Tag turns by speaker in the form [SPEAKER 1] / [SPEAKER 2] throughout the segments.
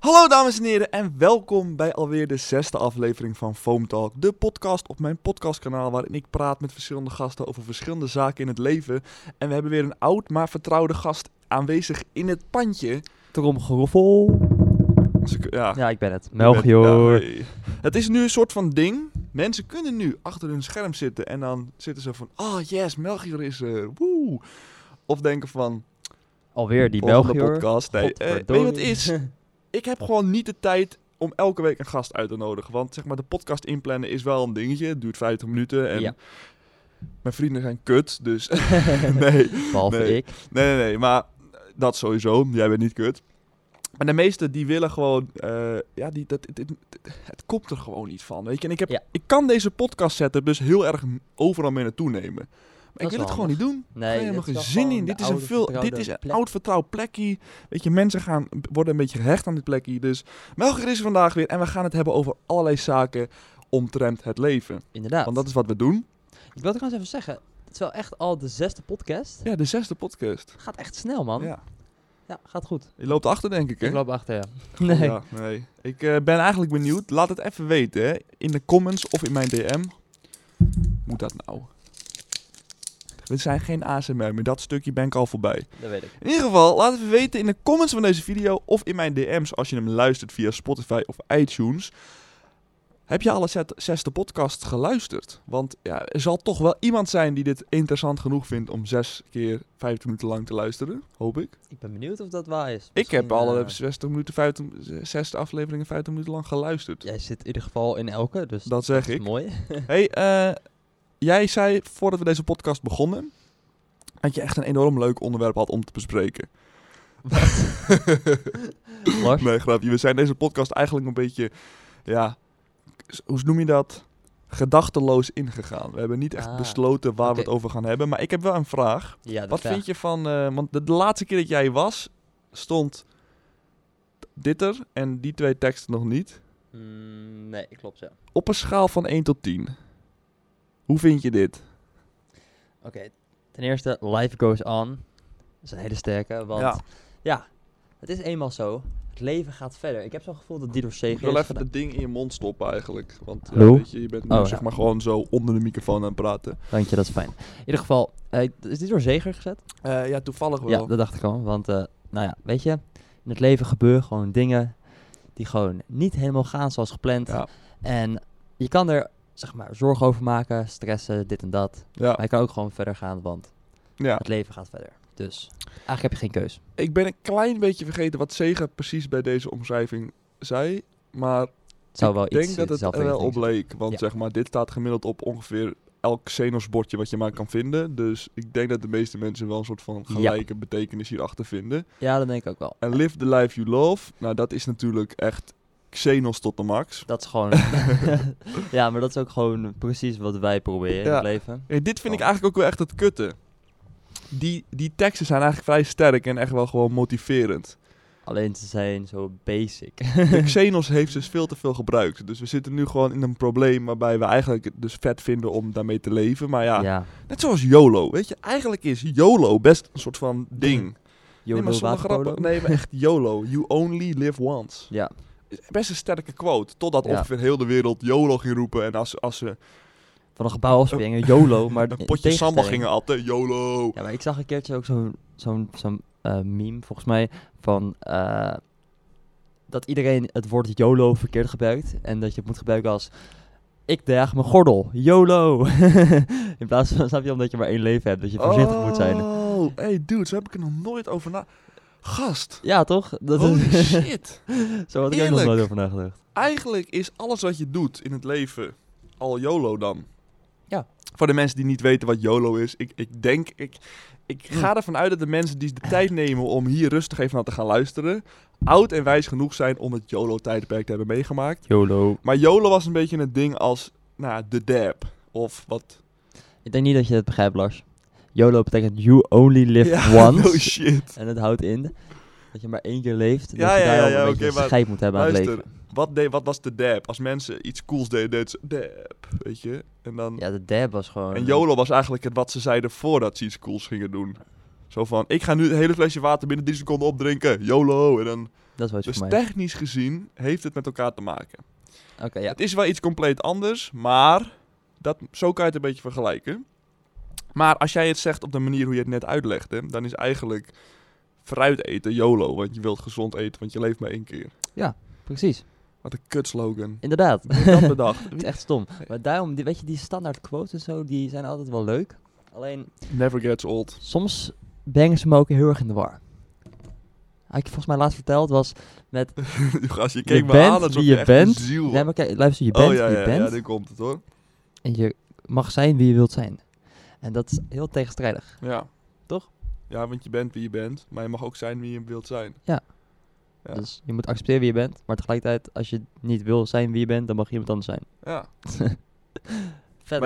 [SPEAKER 1] Hallo dames en heren en welkom bij alweer de zesde aflevering van Foam Talk, de podcast op mijn podcastkanaal waarin ik praat met verschillende gasten over verschillende zaken in het leven. En we hebben weer een oud maar vertrouwde gast aanwezig in het pandje.
[SPEAKER 2] Tromgeroffel.
[SPEAKER 1] Ze kun- Ja,
[SPEAKER 2] Ja, ik ben het.
[SPEAKER 1] Ja,
[SPEAKER 2] Melchior.
[SPEAKER 1] nee. Het is nu een soort van ding. Mensen kunnen nu achter hun scherm zitten en dan zitten ze van, oh yes, Melchior is er, woe. Of denken van,
[SPEAKER 2] Alweer die
[SPEAKER 1] volgende
[SPEAKER 2] Melchior.
[SPEAKER 1] podcast. Nee, eh, weet je wat het is? ik heb gewoon niet de tijd om elke week een gast uit te nodigen. Want zeg maar, de podcast inplannen is wel een dingetje. Het duurt 50 minuten en
[SPEAKER 2] Ja.
[SPEAKER 1] mijn vrienden zijn kut, dus nee.
[SPEAKER 2] Behalve
[SPEAKER 1] Nee.
[SPEAKER 2] ik.
[SPEAKER 1] Nee, nee, nee, maar dat sowieso. Jij bent niet kut. Maar de meesten die willen gewoon, eh, ja, die, dat, dit- dit- het komt er gewoon niet van, weet je. En ik, heb,
[SPEAKER 2] Ja.
[SPEAKER 1] ik kan deze podcast zetten dus heel erg m- overal mee naartoe nemen. Maar ik
[SPEAKER 2] is
[SPEAKER 1] wil
[SPEAKER 2] wel
[SPEAKER 1] het gewoon niet doen.
[SPEAKER 2] Nee,
[SPEAKER 1] ik heb
[SPEAKER 2] het
[SPEAKER 1] helemaal
[SPEAKER 2] is wel
[SPEAKER 1] geen zin
[SPEAKER 2] gewoon
[SPEAKER 1] in.
[SPEAKER 2] de
[SPEAKER 1] Dit is, een
[SPEAKER 2] oude
[SPEAKER 1] veel,
[SPEAKER 2] vertrouwde
[SPEAKER 1] dit is een
[SPEAKER 2] plek.
[SPEAKER 1] oud vertrouwd plekje. Weet je, mensen gaan, worden een beetje gehecht aan dit plekje. Dus Melger is er vandaag weer en we gaan het hebben over allerlei zaken omtrent het leven.
[SPEAKER 2] Inderdaad.
[SPEAKER 1] Want dat is wat we doen.
[SPEAKER 2] Ik wil trouwens even zeggen, het is wel echt al de zesde podcast.
[SPEAKER 1] Ja, de zesde podcast.
[SPEAKER 2] Gaat echt snel, man. Ja,
[SPEAKER 1] Ja.
[SPEAKER 2] gaat goed.
[SPEAKER 1] Je loopt achter, denk ik, hè?
[SPEAKER 2] Ik loop achter, ja.
[SPEAKER 1] Oh,
[SPEAKER 2] Nee.
[SPEAKER 1] ja, nee. Ik eh, ben eigenlijk benieuwd. Laat het even weten hè. in de comments of in mijn DM. Moet dat nou? We zijn geen ASMR meer. Dat stukje ben ik al voorbij.
[SPEAKER 2] Dat weet ik.
[SPEAKER 1] In ieder geval, laat even weten in de comments van deze video of in mijn DM's als je hem luistert via Spotify of iTunes. Heb je alle zet- zesde podcast geluisterd? Want ja, er zal toch wel iemand zijn die dit interessant genoeg vindt om zes keer 50 minuten lang te luisteren, hoop ik.
[SPEAKER 2] Ik ben benieuwd of dat waar is.
[SPEAKER 1] Ik heb
[SPEAKER 2] Misschien,
[SPEAKER 1] alle
[SPEAKER 2] eh,
[SPEAKER 1] 60 minuten, 50, 60 afleveringen 50 minuten lang geluisterd.
[SPEAKER 2] Jij zit in ieder geval in elke, dus dat
[SPEAKER 1] Dat zeg
[SPEAKER 2] is
[SPEAKER 1] ik.
[SPEAKER 2] mooi.
[SPEAKER 1] hey, eh, jij zei voordat we deze podcast begonnen dat je echt een enorm leuk onderwerp had om te bespreken.
[SPEAKER 2] Lars?
[SPEAKER 1] Nee, grapje. We zijn deze podcast eigenlijk een beetje, ja, s- hoe noem je dat? Gedachteloos ingegaan. We hebben niet echt
[SPEAKER 2] Ah,
[SPEAKER 1] besloten waar
[SPEAKER 2] oké.
[SPEAKER 1] we het over gaan hebben. Maar ik heb wel een vraag.
[SPEAKER 2] Ja, dat
[SPEAKER 1] Wat vind je van, eh, want de, de laatste keer dat jij was, stond dit er en die twee teksten nog niet.
[SPEAKER 2] je? Mm, nee, klopt, ja.
[SPEAKER 1] Op een schaal van 1 tot 10. Hoe vind je dit?
[SPEAKER 2] Oké, ten eerste, life goes on. Dat is een hele sterke, want ja,
[SPEAKER 1] Ja.
[SPEAKER 2] het is eenmaal zo. Het leven gaat verder. Ik heb zo'n gevoel dat die door
[SPEAKER 1] Ik
[SPEAKER 2] Seger
[SPEAKER 1] wil
[SPEAKER 2] is
[SPEAKER 1] even
[SPEAKER 2] gedaan.
[SPEAKER 1] het ding in je mond stoppen eigenlijk. Want ja,
[SPEAKER 2] Hallo?
[SPEAKER 1] weet je, je bent nu
[SPEAKER 2] Oh,
[SPEAKER 1] zeg
[SPEAKER 2] ja.
[SPEAKER 1] maar gewoon zo onder de microfoon aan het praten.
[SPEAKER 2] Dank je, dat is fijn. In ieder geval, eh, is dit door Zeger gezet?
[SPEAKER 1] ja, toevallig wel.
[SPEAKER 2] Eh, Ja, dat dacht ik al. Want, eh, nou ja, weet je, in het leven gebeuren gewoon dingen die gewoon niet helemaal gaan zoals gepland.
[SPEAKER 1] Ja.
[SPEAKER 2] En je kan er, zeg maar, zorgen over maken, stressen, dit en dat.
[SPEAKER 1] ja,
[SPEAKER 2] Maar je kan ook gewoon verder gaan, want
[SPEAKER 1] ja.
[SPEAKER 2] het leven gaat verder. Dus eigenlijk heb je geen keus.
[SPEAKER 1] Ik ben een klein beetje vergeten wat Sega precies bij deze omschrijving zei. Maar
[SPEAKER 2] Het zou
[SPEAKER 1] ik
[SPEAKER 2] wel
[SPEAKER 1] denk
[SPEAKER 2] iets
[SPEAKER 1] dat het
[SPEAKER 2] zelf
[SPEAKER 1] er wel op leek. Want
[SPEAKER 2] Ja.
[SPEAKER 1] zeg maar, dit staat gemiddeld op ongeveer elk Xenos-bordje wat je maar kan vinden. Dus ik denk dat de meeste mensen wel een soort van
[SPEAKER 2] Ja.
[SPEAKER 1] gelijke betekenis hierachter vinden.
[SPEAKER 2] Ja, dat denk ik ook wel.
[SPEAKER 1] En Live the Life You Love, nou dat is natuurlijk echt Xenos tot de max.
[SPEAKER 2] Dat is gewoon. ja, maar dat is ook gewoon precies wat wij proberen in
[SPEAKER 1] Ja.
[SPEAKER 2] het leven.
[SPEAKER 1] Hey, dit vind ik
[SPEAKER 2] Oh.
[SPEAKER 1] eigenlijk ook wel echt het kutte. Die, die teksten zijn eigenlijk vrij sterk en echt wel gewoon motiverend.
[SPEAKER 2] Alleen ze zijn zo basic.
[SPEAKER 1] De Xenos heeft dus veel te veel gebruikt. Dus we zitten nu gewoon in een probleem waarbij we eigenlijk het dus vet vinden om daarmee te leven. Maar ja,
[SPEAKER 2] ja.
[SPEAKER 1] net zoals YOLO. Weet je, eigenlijk is YOLO best een soort van ding.
[SPEAKER 2] Jolo
[SPEAKER 1] nee, maar zonder grappen. Nee, maar echt YOLO. You only live once.
[SPEAKER 2] Ja.
[SPEAKER 1] Is Best een sterke quote. Totdat
[SPEAKER 2] Ja.
[SPEAKER 1] ongeveer heel de wereld YOLO ging roepen. En als, als ze
[SPEAKER 2] Van een gebouw afspringen, YOLO, maar
[SPEAKER 1] een
[SPEAKER 2] in
[SPEAKER 1] potje samba
[SPEAKER 2] tegenstelling-
[SPEAKER 1] gingen atten. YOLO.
[SPEAKER 2] Ja, maar ik zag een keertje ook zo'n zo'n zo'n eh, meme, volgens mij, van eh, dat iedereen het woord YOLO verkeerd gebruikt. En dat je het moet gebruiken als, ik draag mijn gordel, YOLO. in plaats van, snap je, omdat je maar één leven hebt, dat je voorzichtig moet zijn.
[SPEAKER 1] Oh, hey dude, zo heb ik er nog nooit over na... Gast,
[SPEAKER 2] Ja, toch? Dat
[SPEAKER 1] holy
[SPEAKER 2] is,
[SPEAKER 1] shit.
[SPEAKER 2] zo had ik ook nog
[SPEAKER 1] Eerlijk.
[SPEAKER 2] nooit over nagedacht.
[SPEAKER 1] Eigenlijk is alles wat je doet in het leven al YOLO dan.
[SPEAKER 2] Ja.
[SPEAKER 1] Voor de mensen die niet weten wat YOLO is, ik, ik denk, ik, ik
[SPEAKER 2] Hm.
[SPEAKER 1] ga ervan uit dat de mensen die de tijd nemen om hier rustig even naar te gaan luisteren, oud en wijs genoeg zijn om het YOLO-tijdperk te hebben meegemaakt.
[SPEAKER 2] YOLO.
[SPEAKER 1] Maar YOLO was een beetje een ding als, nou, de dab. Of wat...
[SPEAKER 2] Ik denk niet dat je het begrijpt, Lars. YOLO betekent you only live
[SPEAKER 1] Ja,
[SPEAKER 2] once.
[SPEAKER 1] Oh shit.
[SPEAKER 2] En het houdt in dat je maar één keer leeft.
[SPEAKER 1] Ja,
[SPEAKER 2] dat je
[SPEAKER 1] ja,
[SPEAKER 2] daar
[SPEAKER 1] ja,
[SPEAKER 2] al
[SPEAKER 1] ja,
[SPEAKER 2] een
[SPEAKER 1] oké,
[SPEAKER 2] beetje
[SPEAKER 1] maar
[SPEAKER 2] scheid moet hebben aan
[SPEAKER 1] Luister,
[SPEAKER 2] het leven.
[SPEAKER 1] wat, deed, wat was de dab? Als mensen iets cools deden, deden ze dab, weet je? En dan...
[SPEAKER 2] Ja, de dab was gewoon...
[SPEAKER 1] En YOLO was eigenlijk het wat ze zeiden voordat ze iets cools gingen doen. Zo van, ik ga nu het hele flesje water binnen 3 seconden opdrinken. YOLO. En dan
[SPEAKER 2] Dat is wat je
[SPEAKER 1] Dus
[SPEAKER 2] voor mij.
[SPEAKER 1] technisch gezien heeft het met elkaar te maken.
[SPEAKER 2] Oké, ja.
[SPEAKER 1] Het is wel iets compleet anders, maar dat, zo kan je het een beetje vergelijken. Maar als jij het zegt op de manier hoe je het net uitlegde, dan is eigenlijk fruit eten YOLO. Want je wilt gezond eten, want je leeft maar één keer.
[SPEAKER 2] Precies.
[SPEAKER 1] Wat een kutslogan.
[SPEAKER 2] Inderdaad.
[SPEAKER 1] Wie heeft dat bedacht?
[SPEAKER 2] Het is echt stom. Maar daarom, die, weet je, die standaard quotes en zo, die zijn altijd wel leuk. Alleen,
[SPEAKER 1] Never gets old.
[SPEAKER 2] soms brengen ze me ook heel erg in de war. Had ik je volgens mij laatst verteld was...
[SPEAKER 1] Als je
[SPEAKER 2] Je
[SPEAKER 1] keek me
[SPEAKER 2] bent
[SPEAKER 1] aan, alsof
[SPEAKER 2] wie
[SPEAKER 1] je,
[SPEAKER 2] je
[SPEAKER 1] echt
[SPEAKER 2] bent.
[SPEAKER 1] een ziel
[SPEAKER 2] Nee,
[SPEAKER 1] was.
[SPEAKER 2] maar kijk, luister, je bent
[SPEAKER 1] oh ja,
[SPEAKER 2] wie
[SPEAKER 1] ja,
[SPEAKER 2] je
[SPEAKER 1] ja,
[SPEAKER 2] bent.
[SPEAKER 1] nu komt het hoor.
[SPEAKER 2] En je mag zijn wie je wilt zijn. En dat is heel tegenstrijdig.
[SPEAKER 1] Ja.
[SPEAKER 2] Toch?
[SPEAKER 1] Ja, want je bent wie je bent, maar je mag ook zijn wie je wilt zijn. Ja.
[SPEAKER 2] Dus je moet accepteren wie je bent. Maar tegelijkertijd, als je niet wil zijn wie je bent, dan mag je iemand anders zijn.
[SPEAKER 1] Ja.
[SPEAKER 2] Verder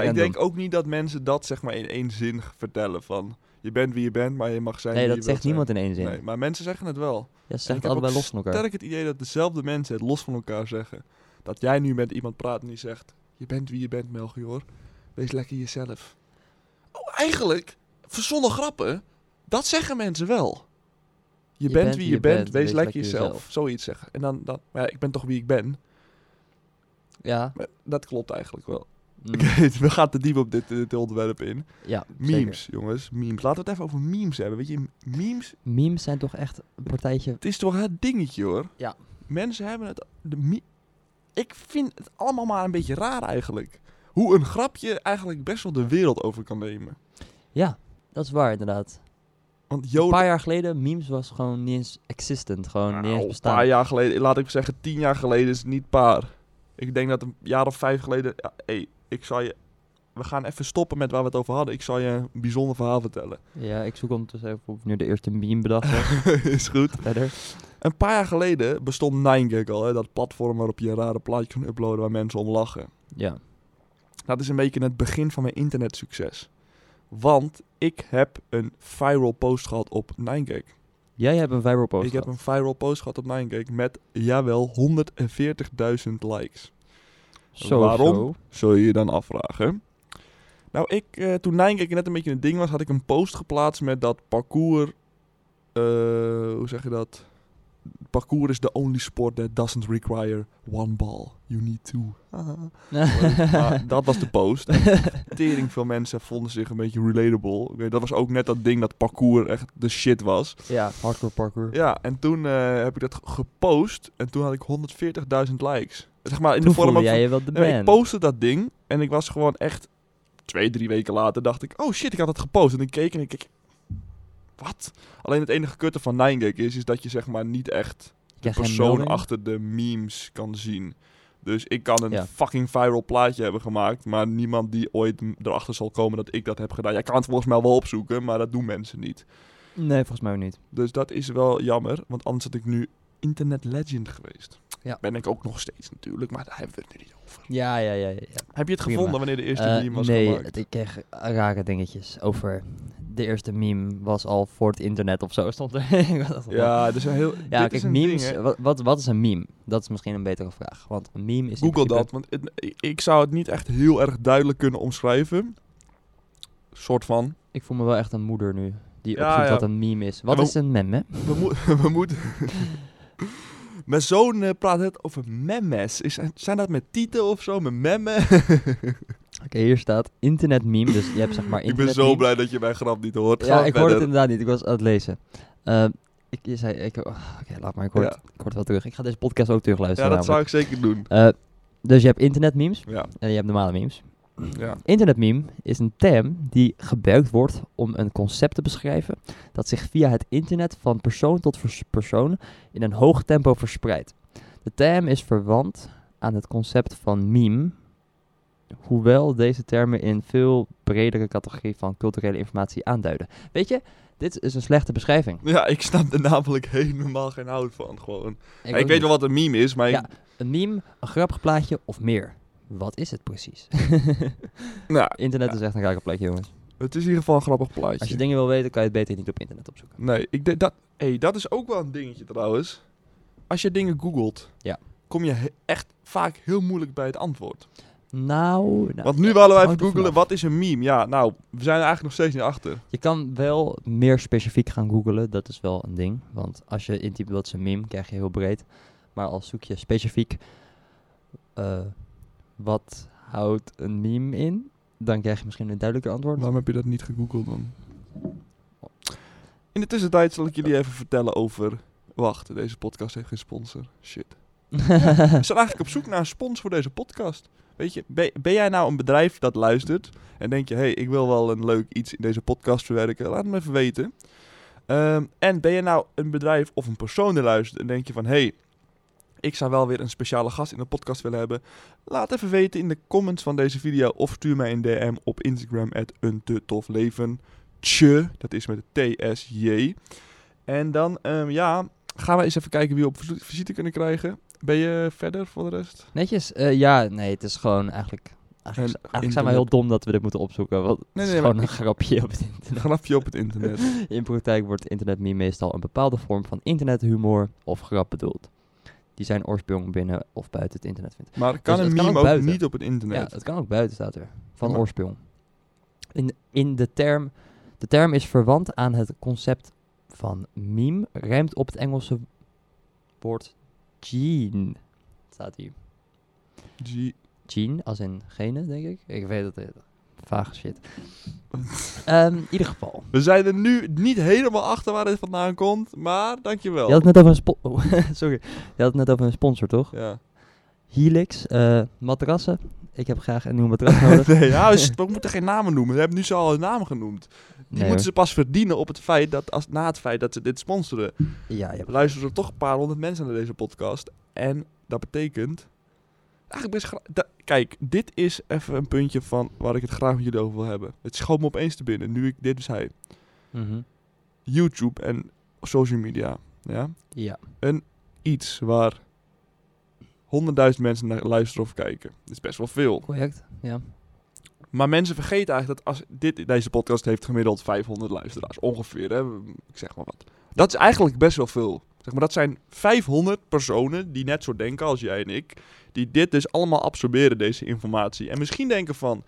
[SPEAKER 1] Maar ik
[SPEAKER 2] random.
[SPEAKER 1] denk ook niet dat mensen dat zeg maar in één zin vertellen van... Je bent wie je bent, maar je mag zijn
[SPEAKER 2] nee,
[SPEAKER 1] wie
[SPEAKER 2] dat
[SPEAKER 1] je wilt
[SPEAKER 2] zegt
[SPEAKER 1] zijn.
[SPEAKER 2] niemand in één zin.
[SPEAKER 1] Nee, maar mensen zeggen het wel.
[SPEAKER 2] Ja, ze
[SPEAKER 1] En ik
[SPEAKER 2] zeggen
[SPEAKER 1] heb
[SPEAKER 2] het allebei
[SPEAKER 1] ook
[SPEAKER 2] los van elkaar.
[SPEAKER 1] Sterk het idee dat dezelfde mensen het los van elkaar zeggen. Dat jij nu met iemand praat en die zegt... Je bent wie je bent, Melchior. hoor. Wees lekker jezelf. Oh, eigenlijk, verzonnen grappen, dat zeggen mensen wel. Je, bent, wie je bent, wees, lekker jezelf. Zoiets zeggen. En dan, dan maar ja, ik ben toch wie ik ben.
[SPEAKER 2] Ja.
[SPEAKER 1] Maar dat klopt eigenlijk wel.
[SPEAKER 2] mm,
[SPEAKER 1] Oké, we gaan te diep op dit, eh, dit onderwerp in.
[SPEAKER 2] ja, zeker.
[SPEAKER 1] Memes, jongens. Memes. Laten we het even over memes hebben. Weet je, memes
[SPEAKER 2] Memes zijn toch echt een partijtje...
[SPEAKER 1] Het is toch het dingetje hoor.
[SPEAKER 2] Ja.
[SPEAKER 1] Mensen hebben het. De, mi- ik vind het allemaal maar een beetje raar eigenlijk. Hoe een grapje eigenlijk best wel de wereld over kan nemen.
[SPEAKER 2] Ja, dat is waar inderdaad.
[SPEAKER 1] Want
[SPEAKER 2] Een
[SPEAKER 1] Jolo.
[SPEAKER 2] paar jaar geleden, memes was gewoon niet eens existent. Gewoon niet eens
[SPEAKER 1] Nou, een
[SPEAKER 2] bestaan.
[SPEAKER 1] paar jaar geleden, laat ik zeggen, tien jaar geleden is het niet paar. Ik denk dat een jaar of vijf geleden. Ja, hey, ik zal je. We gaan even stoppen met waar we het over hadden. Ik zal je een bijzonder verhaal vertellen.
[SPEAKER 2] Ja, ik zoek ondertussen even op wanneer de eerste meme bedacht was.
[SPEAKER 1] is goed.
[SPEAKER 2] Verder.
[SPEAKER 1] Een paar jaar geleden bestond 9gag al. Hè? Dat platform waarop je rare plaatjes kunt uploaden waar mensen om lachen.
[SPEAKER 2] Ja.
[SPEAKER 1] Dat is een beetje het begin van mijn internetsucces. Want ik heb een viral post gehad op 9gag.
[SPEAKER 2] Jij hebt een viral post
[SPEAKER 1] Ik heb
[SPEAKER 2] gehad.
[SPEAKER 1] een viral post gehad op 9gag met, jawel, 140.000 likes.
[SPEAKER 2] Zo,
[SPEAKER 1] Waarom?
[SPEAKER 2] zo.
[SPEAKER 1] Zul je je dan afvragen. Nou, ik, eh, toen 9gag net een beetje een ding was, had ik een post geplaatst met dat parcours... eh, hoe zeg je dat? Parcours is the only sport that doesn't require one ball. You need two. Haha. Maar dat was de post. Tering veel mensen vonden zich een beetje relatable. Ik weet, dat was ook net dat ding dat parcours echt de shit was.
[SPEAKER 2] ja, hardcore parkour.
[SPEAKER 1] Ja, en toen eh, heb ik dat gepost en toen had ik 140.000 likes. Zeg maar in
[SPEAKER 2] Toen
[SPEAKER 1] de vorm
[SPEAKER 2] voelde
[SPEAKER 1] ook
[SPEAKER 2] jij
[SPEAKER 1] van-
[SPEAKER 2] je wel de
[SPEAKER 1] Nee, maar
[SPEAKER 2] man.
[SPEAKER 1] ik postte dat ding en ik was gewoon echt twee, drie weken later dacht ik, oh shit, ik had het gepost. En ik keek en ik keek, wat? Alleen het enige kutte van 9gag is, is dat je zeg maar niet echt
[SPEAKER 2] Ik
[SPEAKER 1] de
[SPEAKER 2] krijg geen
[SPEAKER 1] persoon
[SPEAKER 2] melding.
[SPEAKER 1] achter de memes kan zien. Dus ik kan een
[SPEAKER 2] Ja.
[SPEAKER 1] fucking viral plaatje hebben gemaakt, maar niemand die ooit m- erachter zal komen dat ik dat heb gedaan. Jij kan het volgens mij wel opzoeken, maar dat doen mensen niet.
[SPEAKER 2] Nee, volgens mij ook niet.
[SPEAKER 1] Dus dat is wel jammer, want anders had ik nu internet legend geweest.
[SPEAKER 2] Ja.
[SPEAKER 1] Ben ik ook nog steeds natuurlijk, maar daar hebben we het nu niet over.
[SPEAKER 2] Ja, ja, ja. ja, ja.
[SPEAKER 1] Heb je het
[SPEAKER 2] Prima.
[SPEAKER 1] gevonden wanneer de eerste
[SPEAKER 2] Eh,
[SPEAKER 1] meme was
[SPEAKER 2] nee,
[SPEAKER 1] gemaakt?
[SPEAKER 2] het- ik kreeg rare dingetjes over... De eerste meme was al voor het internet of zo, stond er. Ik was echt van,
[SPEAKER 1] Ja, er zijn heel.
[SPEAKER 2] ja
[SPEAKER 1] dit
[SPEAKER 2] kijk,
[SPEAKER 1] is een
[SPEAKER 2] memes...
[SPEAKER 1] ding, hè.
[SPEAKER 2] wat, wat, wat is een meme? Dat is misschien een betere vraag. Want een meme is... in
[SPEAKER 1] Google
[SPEAKER 2] principe-
[SPEAKER 1] dat, want het- ik- ik zou het niet echt heel erg duidelijk kunnen omschrijven. Soort van.
[SPEAKER 2] Ik voel me wel echt een moeder nu. Die
[SPEAKER 1] Ja,
[SPEAKER 2] opzoekt
[SPEAKER 1] ja.
[SPEAKER 2] wat een meme is. Wat
[SPEAKER 1] we-
[SPEAKER 2] is een meme?
[SPEAKER 1] We, moe- we moeten. Mijn zoon eh, praat het over memes. Is, zijn dat met tieten of zo? Met memmen?
[SPEAKER 2] Oké, hier staat internet meme. Dus je hebt zeg maar
[SPEAKER 1] ik
[SPEAKER 2] internet
[SPEAKER 1] ben zo
[SPEAKER 2] meme.
[SPEAKER 1] blij dat je mijn grap niet hoort.
[SPEAKER 2] Ja,
[SPEAKER 1] Ga
[SPEAKER 2] ik hoorde
[SPEAKER 1] verder.
[SPEAKER 2] het inderdaad niet. Ik was aan het lezen. Ehm, ik je zei... ik- oh, Oké, laat maar. Ik hoor,
[SPEAKER 1] Ja.
[SPEAKER 2] het, ik hoor het wel terug. Ik ga deze podcast ook
[SPEAKER 1] Ja,
[SPEAKER 2] terugluisteren.
[SPEAKER 1] dat zou
[SPEAKER 2] namelijk.
[SPEAKER 1] ik zeker doen.
[SPEAKER 2] Eh, dus je hebt internet memes
[SPEAKER 1] Ja,
[SPEAKER 2] en je hebt normale memes.
[SPEAKER 1] ja.
[SPEAKER 2] Internet meme is een term die gebruikt wordt om een concept te beschrijven dat zich via het internet van persoon tot vers- persoon in een hoog tempo verspreidt. De term is verwant aan het concept van meme, hoewel deze termen in veel bredere categorie van culturele informatie aanduiden. Weet je, dit is een slechte beschrijving.
[SPEAKER 1] ja, ik snap er namelijk helemaal geen hout van. Gewoon. Ik,
[SPEAKER 2] ook
[SPEAKER 1] weet
[SPEAKER 2] niet.
[SPEAKER 1] wel wat een meme is, maar ik-
[SPEAKER 2] Ja. Een meme, een grappig plaatje of meer. Wat is het precies?
[SPEAKER 1] nou,
[SPEAKER 2] internet
[SPEAKER 1] Ja.
[SPEAKER 2] is echt een rare plekje, jongens.
[SPEAKER 1] het is in ieder geval een grappig plaatje.
[SPEAKER 2] Als je dingen wil weten, kan je het beter niet op internet opzoeken.
[SPEAKER 1] Nee, ik denk dat. hey, dat is ook wel een dingetje trouwens. Als je dingen googelt,
[SPEAKER 2] Ja.
[SPEAKER 1] kom je he- echt vaak heel moeilijk bij het antwoord.
[SPEAKER 2] Nou, nou,
[SPEAKER 1] Want nu
[SPEAKER 2] ja,
[SPEAKER 1] willen wij
[SPEAKER 2] hangt
[SPEAKER 1] even
[SPEAKER 2] er
[SPEAKER 1] googelen,
[SPEAKER 2] vanaf.
[SPEAKER 1] wat is een meme? Ja, nou, we zijn er eigenlijk nog steeds niet achter.
[SPEAKER 2] Je kan wel meer specifiek gaan googelen, dat is wel een ding. Want als je intypt wat is een meme, krijg je heel breed. Maar als zoek je specifiek eh, wat houdt een meme in, dan krijg je misschien een duidelijker antwoord.
[SPEAKER 1] Waarom heb je dat niet gegoogeld dan? In de tussentijd zal ik jullie even vertellen over... Wacht, deze podcast heeft geen sponsor. Shit. We zijn eigenlijk op zoek naar een sponsor voor deze podcast. Weet je, ben, ben jij nou een bedrijf dat luistert en denk je, hé, hey, ik wil wel een leuk iets in deze podcast verwerken? Laat het me even weten. Ehm, en ben je nou een bedrijf of een persoon die luistert en denk je van, hé, hey, ik zou wel weer een speciale gast in de podcast willen hebben? Laat even weten in de comments van deze video of stuur mij een DM op Instagram at een te tof leven. Tje, dat is met de TSJ. En dan, ehm, ja, gaan we eens even kijken wie we op verzo- visite kunnen krijgen. Ben je verder voor de rest?
[SPEAKER 2] Netjes? Eh, ja, nee, het is gewoon eigenlijk... Eigenlijk,
[SPEAKER 1] Een
[SPEAKER 2] eigenlijk zijn we heel dom dat we dit moeten opzoeken. Want
[SPEAKER 1] Nee,
[SPEAKER 2] het
[SPEAKER 1] nee,
[SPEAKER 2] is
[SPEAKER 1] maar
[SPEAKER 2] gewoon een grapje op het
[SPEAKER 1] Een
[SPEAKER 2] internet.
[SPEAKER 1] grapje op het internet.
[SPEAKER 2] In praktijk wordt internetmeme meestal een bepaalde vorm van internethumor of grap bedoeld. Die zijn oorsprong binnen of buiten het internet vindt.
[SPEAKER 1] Maar kan
[SPEAKER 2] Dus
[SPEAKER 1] een
[SPEAKER 2] het kan
[SPEAKER 1] meme
[SPEAKER 2] ook
[SPEAKER 1] ook
[SPEAKER 2] buiten.
[SPEAKER 1] niet op het internet?
[SPEAKER 2] Ja, het kan ook buiten, staat er. Van
[SPEAKER 1] Maar-
[SPEAKER 2] oorsprong. In, in de term... De term is verwant aan het concept van meme. Rijmt op het Engelse woord gene. Staat hier.
[SPEAKER 1] Gee.
[SPEAKER 2] Gene, als in gene, denk ik. Ik weet het niet. Vaag shit. Ehm, in ieder geval.
[SPEAKER 1] We zijn er nu niet helemaal achter waar dit vandaan komt, maar dankjewel.
[SPEAKER 2] Je had het net over een sponsor. sorry. Je had het net over een sponsor, toch?
[SPEAKER 1] Ja.
[SPEAKER 2] Helix, eh, matrassen. Ik heb graag een nieuw matras nodig.
[SPEAKER 1] Nee, nou, is- we moeten geen namen noemen. We hebben nu ze al een naam genoemd. Die
[SPEAKER 2] Nee,
[SPEAKER 1] moeten ze pas verdienen op het feit dat, als, na het feit dat ze dit sponsoren.
[SPEAKER 2] hoor. Ja, je hebt-
[SPEAKER 1] Luisteren er toch een paar honderd mensen naar deze podcast. En dat betekent... Eigenlijk best gra- da- Kijk, dit is even een puntje van waar ik het graag met jullie over wil hebben. Het schoot me opeens te binnen, nu ik dit zei.
[SPEAKER 2] Mhm.
[SPEAKER 1] YouTube en social media. Ja?
[SPEAKER 2] Ja.
[SPEAKER 1] Iets waar 100.000 mensen naar luisteren of kijken. Dat is best wel veel.
[SPEAKER 2] Correct. Ja.
[SPEAKER 1] Maar mensen vergeten eigenlijk dat als dit, deze podcast heeft gemiddeld 500 luisteraars. Ongeveer, hè? ik zeg maar wat. Dat is eigenlijk best wel veel. Zeg maar, dat zijn 500 personen die net zo denken als jij en ik. Die dit dus allemaal absorberen, deze informatie. En misschien denken van...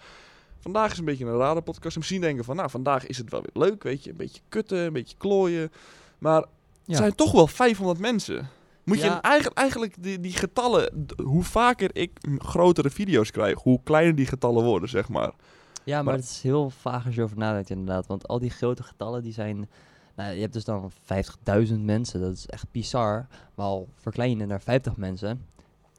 [SPEAKER 1] Vandaag is een beetje een rare podcast. En misschien denken van, nou, vandaag is het wel weer leuk, weet je. Een beetje kutten, een beetje klooien. Maar het
[SPEAKER 2] Ja.
[SPEAKER 1] zijn toch wel 500 mensen. Moet je
[SPEAKER 2] Ja.
[SPEAKER 1] een- eigenlijk, eigenlijk die, die getallen... d- Hoe vaker ik m, grotere video's krijg, hoe kleiner die getallen worden, zeg maar.
[SPEAKER 2] Ja, maar,
[SPEAKER 1] Maar-
[SPEAKER 2] het is heel vaag als je over nadenkt inderdaad. Want al die grote getallen die zijn... Nou, je hebt dus dan 50.000 mensen. Dat is echt bizar. Maar al verklein je het naar 50 mensen.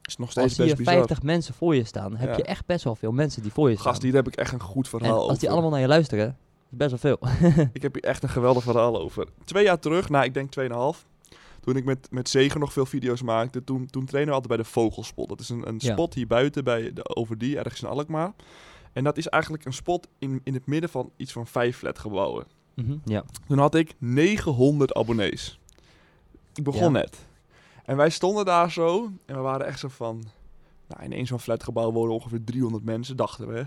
[SPEAKER 1] Is nog
[SPEAKER 2] Als
[SPEAKER 1] steeds
[SPEAKER 2] zie je
[SPEAKER 1] best bizar.
[SPEAKER 2] 50 mensen voor je staan, heb
[SPEAKER 1] Ja.
[SPEAKER 2] je echt best wel veel mensen die voor je staan.
[SPEAKER 1] Gast, hier heb ik echt een goed
[SPEAKER 2] en
[SPEAKER 1] verhaal
[SPEAKER 2] als die
[SPEAKER 1] over.
[SPEAKER 2] allemaal naar je luisteren, is best wel veel.
[SPEAKER 1] Ik heb hier echt een geweldig verhaal over. Twee jaar terug, nou ik denk tweeënhalf. Toen ik met, met Zegen nog veel video's maakte, toen, toen trainen we altijd bij de Vogelspot. Dat is een, een
[SPEAKER 2] Ja.
[SPEAKER 1] spot hier buiten bij de Overdie, ergens in Alkmaar. En dat is eigenlijk een spot in, in het midden van iets van vijf flatgebouwen.
[SPEAKER 2] Mhm. Ja.
[SPEAKER 1] Toen had ik 900 abonnees. Ik begon
[SPEAKER 2] Ja.
[SPEAKER 1] net. En wij stonden daar zo en we waren echt zo van... Nou, in één zo'n flatgebouw wonen ongeveer 300 mensen, dachten we.